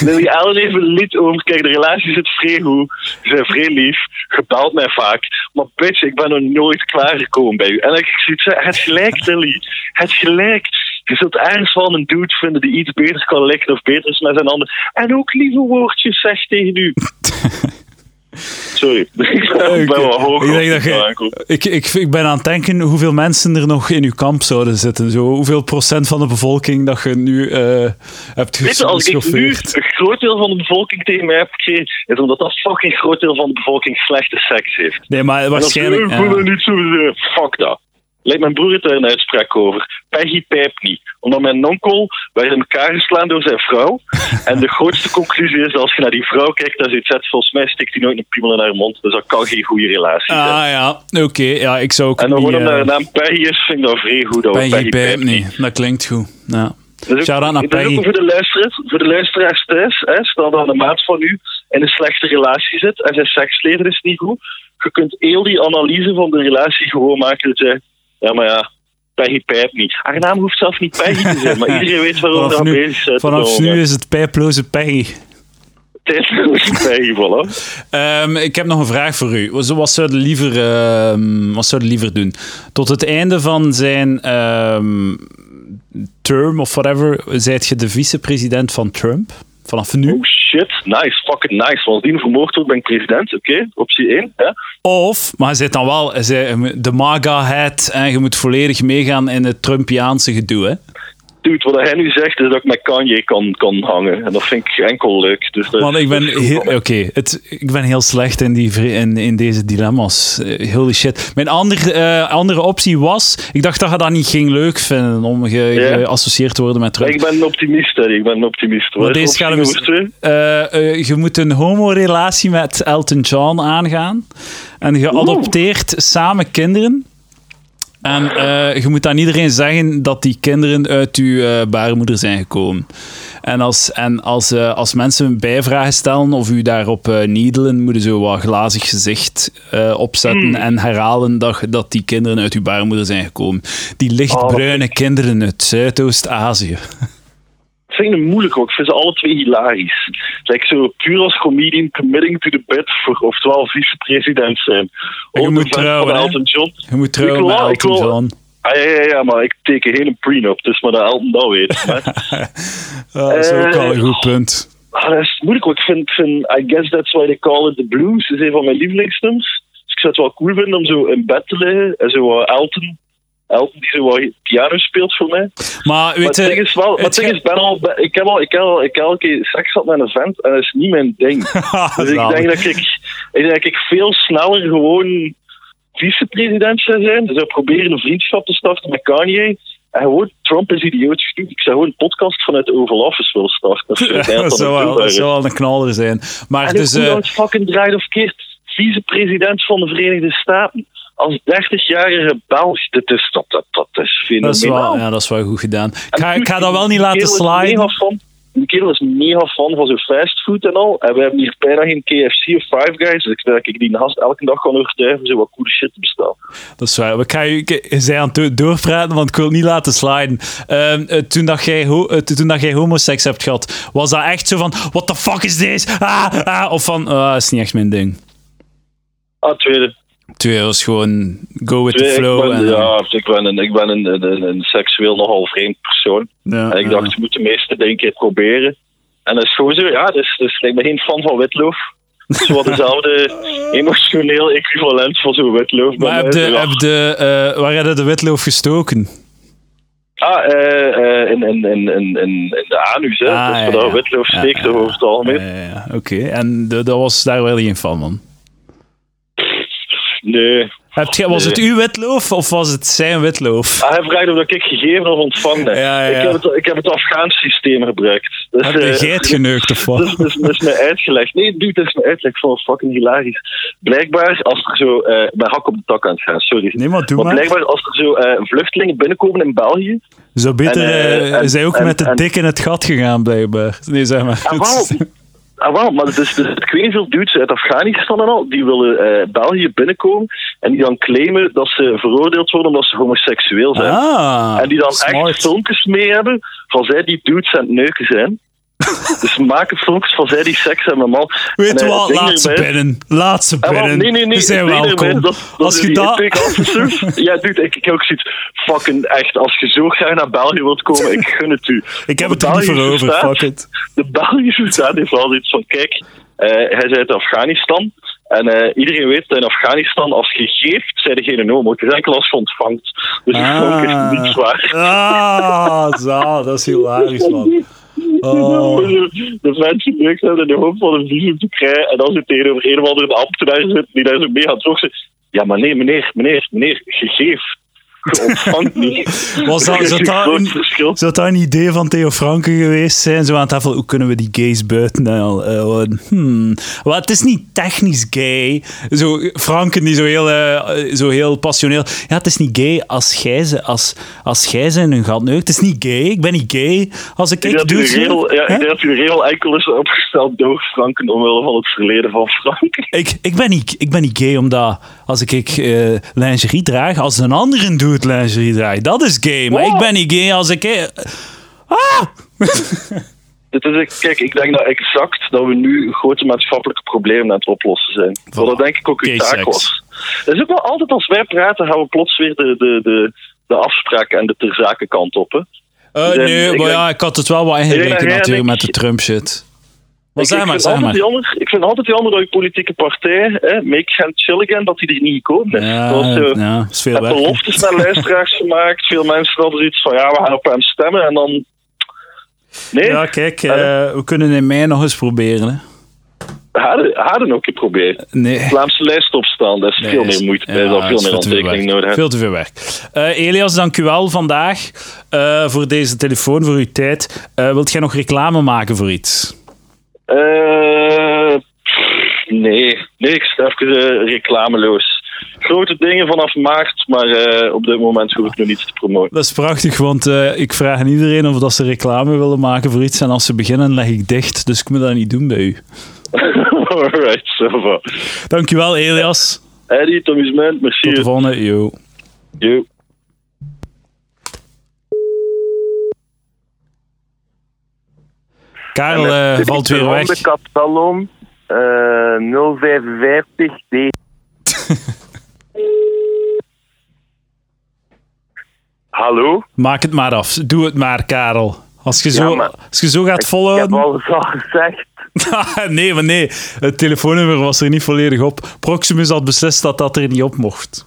Speaker 6: Lily Allen heeft een lied over. Kijk, de relatie zit vrij goed. Ze zijn vrij lief. Je belt mij vaak. Maar bitch, ik ben nog nooit klaargekomen bij u. En ik zie het het gelijk, Lily. Het gelijk. Je zult ergens wel een dude vinden die iets beter kan likken of beter is met zijn ander. En ook lieve woordjes zegt tegen u. Sorry, ik ben, ik ben wel hoog.
Speaker 2: Ik denk
Speaker 6: op
Speaker 2: dat
Speaker 6: de
Speaker 2: je-
Speaker 6: aankoop.
Speaker 2: Ik, ik, ik ben aan het denken hoeveel mensen er nog in uw kamp zouden zitten. Zo, hoeveel procent van de bevolking dat je nu eh hebt
Speaker 6: Weet je, als ik nu
Speaker 2: geschoffeerd.
Speaker 6: een groot deel van de bevolking tegen mij heb gekregen, is omdat dat fucking groot deel van de bevolking slechte seks heeft.
Speaker 2: Nee, maar
Speaker 6: En als
Speaker 2: waarschijnlijk... Ah,
Speaker 6: eh, ik voel me
Speaker 2: ja.
Speaker 6: niet zo... eh, Fuck dat. Lijkt mijn broer het daar een uitspraak over. Peggy pijpt niet. Omdat mijn onkel werd in elkaar geslaan door zijn vrouw. En de grootste conclusie is, als je naar die vrouw kijkt, dan zit zet, volgens mij stikt hij nooit een piemel in haar mond. Dus dat kan geen goede relatie zijn.
Speaker 2: Ah ja, oké. ja, ik zou ook
Speaker 6: en dan
Speaker 2: niet...
Speaker 6: gewoon omdat
Speaker 2: eh,
Speaker 6: haar naam Peggy is, vind ik dat vrij goed. Dat we
Speaker 2: Peggy
Speaker 6: Peggy Dus
Speaker 2: Pijp
Speaker 6: pijpt niet.
Speaker 2: niet. Dat klinkt goed. Ja.
Speaker 6: Dat is ook-
Speaker 2: Shout-out naar
Speaker 6: dat is
Speaker 2: Peggy.
Speaker 6: ook voor de luisteraars, voor de luisteraars thuis. Hè, stel dat een maat van u in een slechte relatie zit en zijn seksleven is niet goed. Je kunt heel die analyse van de relatie gewoon maken. Dat je, ja, maar ja, Peggy pijp niet. Haar naam hoeft zelf niet Peggy te zijn, maar iedereen weet waarom
Speaker 2: Vanaf
Speaker 6: we
Speaker 2: nu,
Speaker 6: bezig zijn.
Speaker 2: vanaf nu is het pijploze Peggy.
Speaker 6: Het is Peggy, voilà.
Speaker 2: Ehm, ik heb nog een vraag voor u. Wat, wat zou je liever, ehm, wat zou je liever doen? Tot het einde van zijn ehm, term of whatever, zijt je de vicepresident van Trump? Vanaf nu?
Speaker 6: Oh shit, nice, fucking nice. Want als die vermoord wordt, ben ik president, oké, optie 1. Hè?
Speaker 2: Of, maar je zit dan wel je zit de MAGA-head en je moet volledig meegaan in het Trumpiaanse gedoe. Hè?
Speaker 6: Dude, wat hij nu zegt is dat ik met Kanye kan, kan hangen. En dat vind ik enkel leuk. Dus dat-
Speaker 2: Want ik
Speaker 6: dat is
Speaker 2: ben,
Speaker 6: goed
Speaker 2: heel,
Speaker 6: van mij.
Speaker 2: oké, het ik ben heel slecht in, die, vri- in, in deze dilemma's. Eh, Holy shit. Mijn andere, eh, andere optie was... Ik dacht dat je dat niet ging leuk vinden om ge-
Speaker 6: Ja.
Speaker 2: geassocieerd te worden met Trump.
Speaker 6: Ik ben een optimist, hè. Ik ben een optimist.
Speaker 2: Maar
Speaker 6: Wat is
Speaker 2: deze gaan we
Speaker 6: optie
Speaker 2: mis-
Speaker 6: nummer twee?
Speaker 2: Eh, eh, je moet een homorelatie met Elton John aangaan. En je adopteert samen kinderen. En eh, je moet aan iedereen zeggen dat die kinderen uit uw eh, baarmoeder zijn gekomen. En, als, en als, eh, als mensen bijvragen stellen of u daarop eh needelen, moeten ze wat glazig gezicht eh, opzetten
Speaker 6: Hmm.
Speaker 2: en herhalen dat, je- dat die kinderen uit uw baarmoeder zijn gekomen. Die
Speaker 6: Oh,
Speaker 2: lichtbruine kinderen uit Zuidoost-Azië.
Speaker 6: Het vind ik een moeilijk ook. Ik vind ze alle twee hilarisch. Like zo puur als comedian committing to the bed voor oftewel vice-president zijn.
Speaker 2: Je
Speaker 6: Ook
Speaker 2: moet
Speaker 6: de vent
Speaker 2: trouwen,
Speaker 6: van
Speaker 2: hè?
Speaker 6: Elton John.
Speaker 2: Je moet trouwen
Speaker 6: Ik
Speaker 2: met
Speaker 6: wil- ik
Speaker 2: Elton
Speaker 6: wil-
Speaker 2: John.
Speaker 6: Ah, ja, ja, ja, maar ik teken geen prenup, dus maar dat Elton dat weet. Maar,
Speaker 2: Ah, dat is ook
Speaker 6: Eh,
Speaker 2: al een goed punt.
Speaker 6: ah, dat is moeilijk, want ik vind, ik vind I guess that's why they call it the blues, is een van mijn lievelingsnummers. Dus ik zou het wel cool vinden om zo in bed te liggen en zo eh, Elton, Elton die zo wat piano speelt voor mij.
Speaker 2: Maar
Speaker 6: Maar
Speaker 2: weet
Speaker 6: het ding
Speaker 2: je...
Speaker 6: is wel, maar het
Speaker 2: het
Speaker 6: ding
Speaker 2: ge-
Speaker 6: is, ben al, ben- ik heb al, ik heb al, ik heb al een keer seks gehad met een vent en dat is niet mijn ding. Dus ik denk dat ik, ik, denk dat ik veel sneller gewoon vicepresident zou zijn. Dus ik proberen een vriendschap te starten met Kanye. En gewoon, Trump is idioot genoeg. Ik zou gewoon een podcast vanuit de Oval Office willen starten. Of zo. Ik denk
Speaker 2: dat
Speaker 6: dat
Speaker 2: zou
Speaker 6: dat
Speaker 2: wel,
Speaker 6: een
Speaker 2: dat zou
Speaker 6: doel
Speaker 2: wel een knaller zijn. Maar
Speaker 6: En
Speaker 2: dus...
Speaker 6: dus, hoe
Speaker 2: eh,
Speaker 6: dan het fucking draait of keert, vicepresident van de Verenigde Staten. Als 30-jarige Belg, dit is, dat, dat, dat is
Speaker 2: Dat is,
Speaker 6: fenomenaal.
Speaker 2: wel, ja, dat is wel goed gedaan. Ik
Speaker 6: En
Speaker 2: ga, ik ga dat
Speaker 6: natuurlijk,
Speaker 2: wel niet
Speaker 6: die
Speaker 2: laten
Speaker 6: kerel is mega
Speaker 2: sliden.
Speaker 6: fan- Die kerel is mega fan van zo'n fastfood en al. En we hebben hier bijna geen KFC of Five Guys. Dus ik denk dat ik die naast elke dag kan overtuigen om zo wat coole shit te bestellen.
Speaker 2: Dat is waar. Ik ga je, ik- je zei aan het do- doorpraten, want ik wil het niet laten sliden. Ehm, eh, toen, dat jij ho- eh, toen dat jij homoseks hebt gehad, was dat echt zo van: what the fuck is this? Ah, ah, of van: ah, is niet echt mijn ding.
Speaker 6: Ah, tweede.
Speaker 2: Twee was gewoon go with
Speaker 6: Twee,
Speaker 2: the
Speaker 6: ik,
Speaker 2: flow.
Speaker 6: ben,
Speaker 2: en,
Speaker 6: ja, ik ben, een, ik ben een, een, een, een seksueel nogal vreemd persoon.
Speaker 2: ja,
Speaker 6: en ik dacht, ik moet de meeste dingen een keer proberen. En dat is gewoon zo, ja, dus, dus ik ben geen fan van witloof. Het is wel dezelfde emotioneel equivalent van zo'n witloof. bij
Speaker 2: Maar heb
Speaker 6: mij.
Speaker 2: de,
Speaker 6: Ja.
Speaker 2: heb de, eh, waar heb je de witloof gestoken?
Speaker 6: Ah, eh, eh, in, in, in, in, in in de anus, hè.
Speaker 2: Ah,
Speaker 6: dus
Speaker 2: ja,
Speaker 6: vandaar
Speaker 2: ja.
Speaker 6: witloof
Speaker 2: Ja,
Speaker 6: steekt
Speaker 2: ja,
Speaker 6: over het algemeen.
Speaker 2: Eh, Oké, en de- dat was, daar werd je geen fan van.
Speaker 6: Nee.
Speaker 2: Heb je, was het uw witloof of was het zijn witloof?
Speaker 6: Ah, hij vraagt of ik gegeven of ontvangen heb.
Speaker 2: Ja, ja, ja.
Speaker 6: Ik, heb het, ik heb het Afghaans systeem gebruikt. Dus,
Speaker 2: Heb je
Speaker 6: eh, Dus-
Speaker 2: geit geneukt of
Speaker 6: Dat is,
Speaker 2: wat?
Speaker 6: dat is- dat is mij uitgelegd. Nee, dude, dat is mij uitgelegd. Ik vond het fucking hilarisch. Blijkbaar, als er zo... eh ik ben hak op de tak aan het gaan, sorry.
Speaker 2: Nee, maar doe
Speaker 6: maar
Speaker 2: maar.
Speaker 6: blijkbaar, als er zo eh, vluchtelingen binnenkomen in België...
Speaker 2: Zo beter
Speaker 6: En, eh,
Speaker 2: eh,
Speaker 6: en-
Speaker 2: zij ook
Speaker 6: en-
Speaker 2: met de
Speaker 6: en-
Speaker 2: dik in het gat gegaan, blijkbaar. Nee, zeg maar.
Speaker 6: Ah, wel. Ah, wel, maar het is, dus, ik weet niet veel dudes uit Afghanistan en al, die willen eh, België binnenkomen en die dan claimen dat ze veroordeeld worden omdat ze homoseksueel zijn.
Speaker 2: Ah,
Speaker 6: en die dan echt
Speaker 2: smart.
Speaker 6: filmpjes mee hebben van zij die dudes aan het neuken zijn. dus ze maken filmpjes van zij die seks hebben met man.
Speaker 2: Weet je
Speaker 6: En, eh,
Speaker 2: wat?
Speaker 6: het ding
Speaker 2: Laat ze
Speaker 6: erbij-
Speaker 2: binnen. Laat ze
Speaker 6: Ah, wel,
Speaker 2: binnen.
Speaker 6: nee, nee, nee.
Speaker 2: Ze zijn
Speaker 6: het ding erbij is
Speaker 2: welkom.
Speaker 6: Dat, dat
Speaker 2: Als
Speaker 6: is
Speaker 2: je
Speaker 6: die
Speaker 2: dat...
Speaker 6: intake officers- ja, dude, ik, ik heb ook zoiets. Fucking echt, als je zo graag naar België wilt komen, ik gun het u.
Speaker 2: Ik heb
Speaker 6: Want
Speaker 2: het
Speaker 6: de
Speaker 2: er niet voor
Speaker 6: Belgische
Speaker 2: over,
Speaker 6: staat-
Speaker 2: fuck it.
Speaker 6: de Belgische staat heeft wel iets van: kijk, eh, hij is uit Afghanistan. En eh, iedereen weet dat in Afghanistan, als je geeft, zijn er geen homo. Het is enkel als je ontvangt. Dus ik vond het niet zwaar.
Speaker 2: Ah, zo, dat is hilarisch, man. Oh.
Speaker 6: De mensen druk zijn in de hoop van een visum te krijgen. En dan zit tegenover een of andere ambtenaar zit die daar zo mee gaat zochten. Ja, maar nee, meneer, meneer, meneer, je geeft. Je ontvangt niet.
Speaker 2: Was dat,
Speaker 6: Er is
Speaker 2: zou,
Speaker 6: een
Speaker 2: dat
Speaker 6: groot
Speaker 2: een,
Speaker 6: verschil.
Speaker 2: zou dat een idee van Theo Franken geweest zijn? Zo aan tafel, hoe kunnen we die gays buiten al? eh, houden? hmm. Wel, het is niet technisch gay. Zo, Franken die zo heel, eh, zo heel passioneel... Ja, het is niet gay als jij ze, als, als jij ze in hun gat neukt. Het is niet gay. Ik ben niet gay. Als ik,
Speaker 6: Ik
Speaker 2: ik
Speaker 6: denk,
Speaker 2: doe...
Speaker 6: dat uw regel, ja, ik
Speaker 2: Hè?
Speaker 6: denk dat uw regel enkel is opgesteld door Franken omwille van het verleden van Franken.
Speaker 2: Ik, ik, ben niet, ik ben niet gay omdat als ik, ik eh, lingerie draag, als een ander doet lingerie draagt, dat is gay. Maar ik ben niet gay als ik... eh, Ah!
Speaker 6: Dit is, kijk, ik denk dat exact dat we nu grote maatschappelijke problemen aan het oplossen zijn. Wat dat denk ik ook uw
Speaker 2: Gay
Speaker 6: taak
Speaker 2: seks.
Speaker 6: was. Dat is ook wel altijd als wij praten, gaan we plots weer de, de, de, de afspraak en de terzakenkant op. Hè.
Speaker 2: Eh,
Speaker 6: Dus,
Speaker 2: nee,
Speaker 6: ik
Speaker 2: maar
Speaker 6: denk-
Speaker 2: ja, ik had het wel wat
Speaker 6: Ik denk
Speaker 2: ingeleken
Speaker 6: dat jij
Speaker 2: natuurlijk
Speaker 6: en
Speaker 2: met
Speaker 6: ik-
Speaker 2: de Trump-shit. Maar
Speaker 6: Ik, ik
Speaker 2: zeg maar,
Speaker 6: vind
Speaker 2: zeg
Speaker 6: altijd
Speaker 2: maar.
Speaker 6: jammer, ik vind altijd jammer dat je politieke partij, hè, Make Gent Chill Again, dat die er niet gekomen is.
Speaker 2: Ja,
Speaker 6: Dat was, eh,
Speaker 2: ja, dat is veel
Speaker 6: Heb
Speaker 2: werk.
Speaker 6: beloftes naar luisteraars gemaakt. Veel mensen hadden iets van, ja, we gaan op hem stemmen. En dan... Nee,
Speaker 2: Ja, kijk, eh, we kunnen in mei nog eens proberen. Hè.
Speaker 6: hadden, hadden ook een probeer.
Speaker 2: Nee.
Speaker 6: Vlaamse lijst opstaan, dat is
Speaker 2: Nee,
Speaker 6: veel
Speaker 2: is-
Speaker 6: meer moeite.
Speaker 2: ja,
Speaker 6: bij, dat is
Speaker 2: is
Speaker 6: veel meer
Speaker 2: te veel
Speaker 6: handtekening
Speaker 2: werk.
Speaker 6: nodig. hebben.
Speaker 2: Veel te veel werk. Eh, Elias, dank u wel vandaag eh, voor deze telefoon, voor uw tijd. Eh, wilt jij nog reclame maken voor iets?
Speaker 6: Eh, pff, nee. nee, ik sta even eh, reclameloos. grote dingen vanaf maart, maar eh, op dit moment hoef ik nog niets te promoten.
Speaker 2: Dat is prachtig, want eh, ik vraag aan iedereen of dat ze reclame willen maken voor iets. En als ze beginnen, leg ik dicht. Dus ik moet dat niet doen bij u.
Speaker 6: Alright, ça va.
Speaker 2: Dankjewel, Elias.
Speaker 6: Eddie, Tommy's Man, merci.
Speaker 2: Tot de volgende. Yo.
Speaker 6: Yo.
Speaker 2: Karel eh, valt weer weg.
Speaker 5: De Catalon eh, 055 D.
Speaker 6: Hallo?
Speaker 2: Maak het maar af. Doe het maar, Karel. Als je zo,
Speaker 5: maar-
Speaker 2: als je zo gaat
Speaker 5: Ik heb
Speaker 2: volhouden...
Speaker 5: alles al gezegd.
Speaker 2: nee, maar nee. Het telefoonnummer was er niet volledig op. Proximus had beslist dat dat er niet op mocht.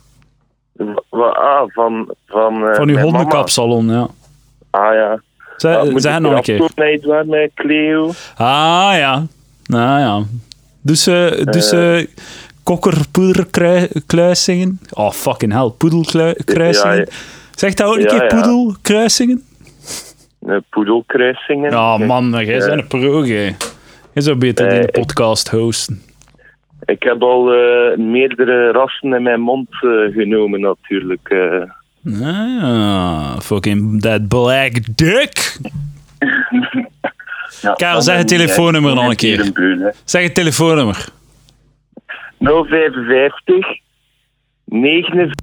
Speaker 5: Wa- ah, van, van, eh,
Speaker 2: Van uw
Speaker 5: mijn mama.
Speaker 2: hondenkapsalon, ja.
Speaker 5: Ah ja.
Speaker 2: Zeg,
Speaker 5: Moet
Speaker 2: zeg het
Speaker 5: ik
Speaker 2: nog
Speaker 5: weer
Speaker 2: een keer.
Speaker 5: afkomen naar Edouard, naar Cleo?
Speaker 2: Ah ja. Nou ja. Dus, eh dus eh kokkerpoederkruisingen. Oh, fucking hell. Poedelkruisingen.
Speaker 5: Ja, ja.
Speaker 2: Zeg dat ook een
Speaker 5: Ja,
Speaker 2: keer
Speaker 5: ja.
Speaker 2: poedelkruisingen.
Speaker 5: Een eh, poedelkruisingen.
Speaker 2: Ja, Ah, man, jij bent een pro, jij. Jij zou beter
Speaker 5: Eh,
Speaker 2: die
Speaker 5: ik-
Speaker 2: podcast hosten.
Speaker 5: Ik heb al eh, meerdere rassen in mijn mond eh, genomen, natuurlijk. eh.
Speaker 2: Ah, fucking that black dick.
Speaker 5: Ja,
Speaker 2: Karel,
Speaker 5: dan
Speaker 2: zeg het
Speaker 5: ben ik
Speaker 2: telefoonnummer
Speaker 5: echt
Speaker 2: nog een keer.
Speaker 5: een bruine.
Speaker 2: Zeg het telefoonnummer.
Speaker 5: 055 49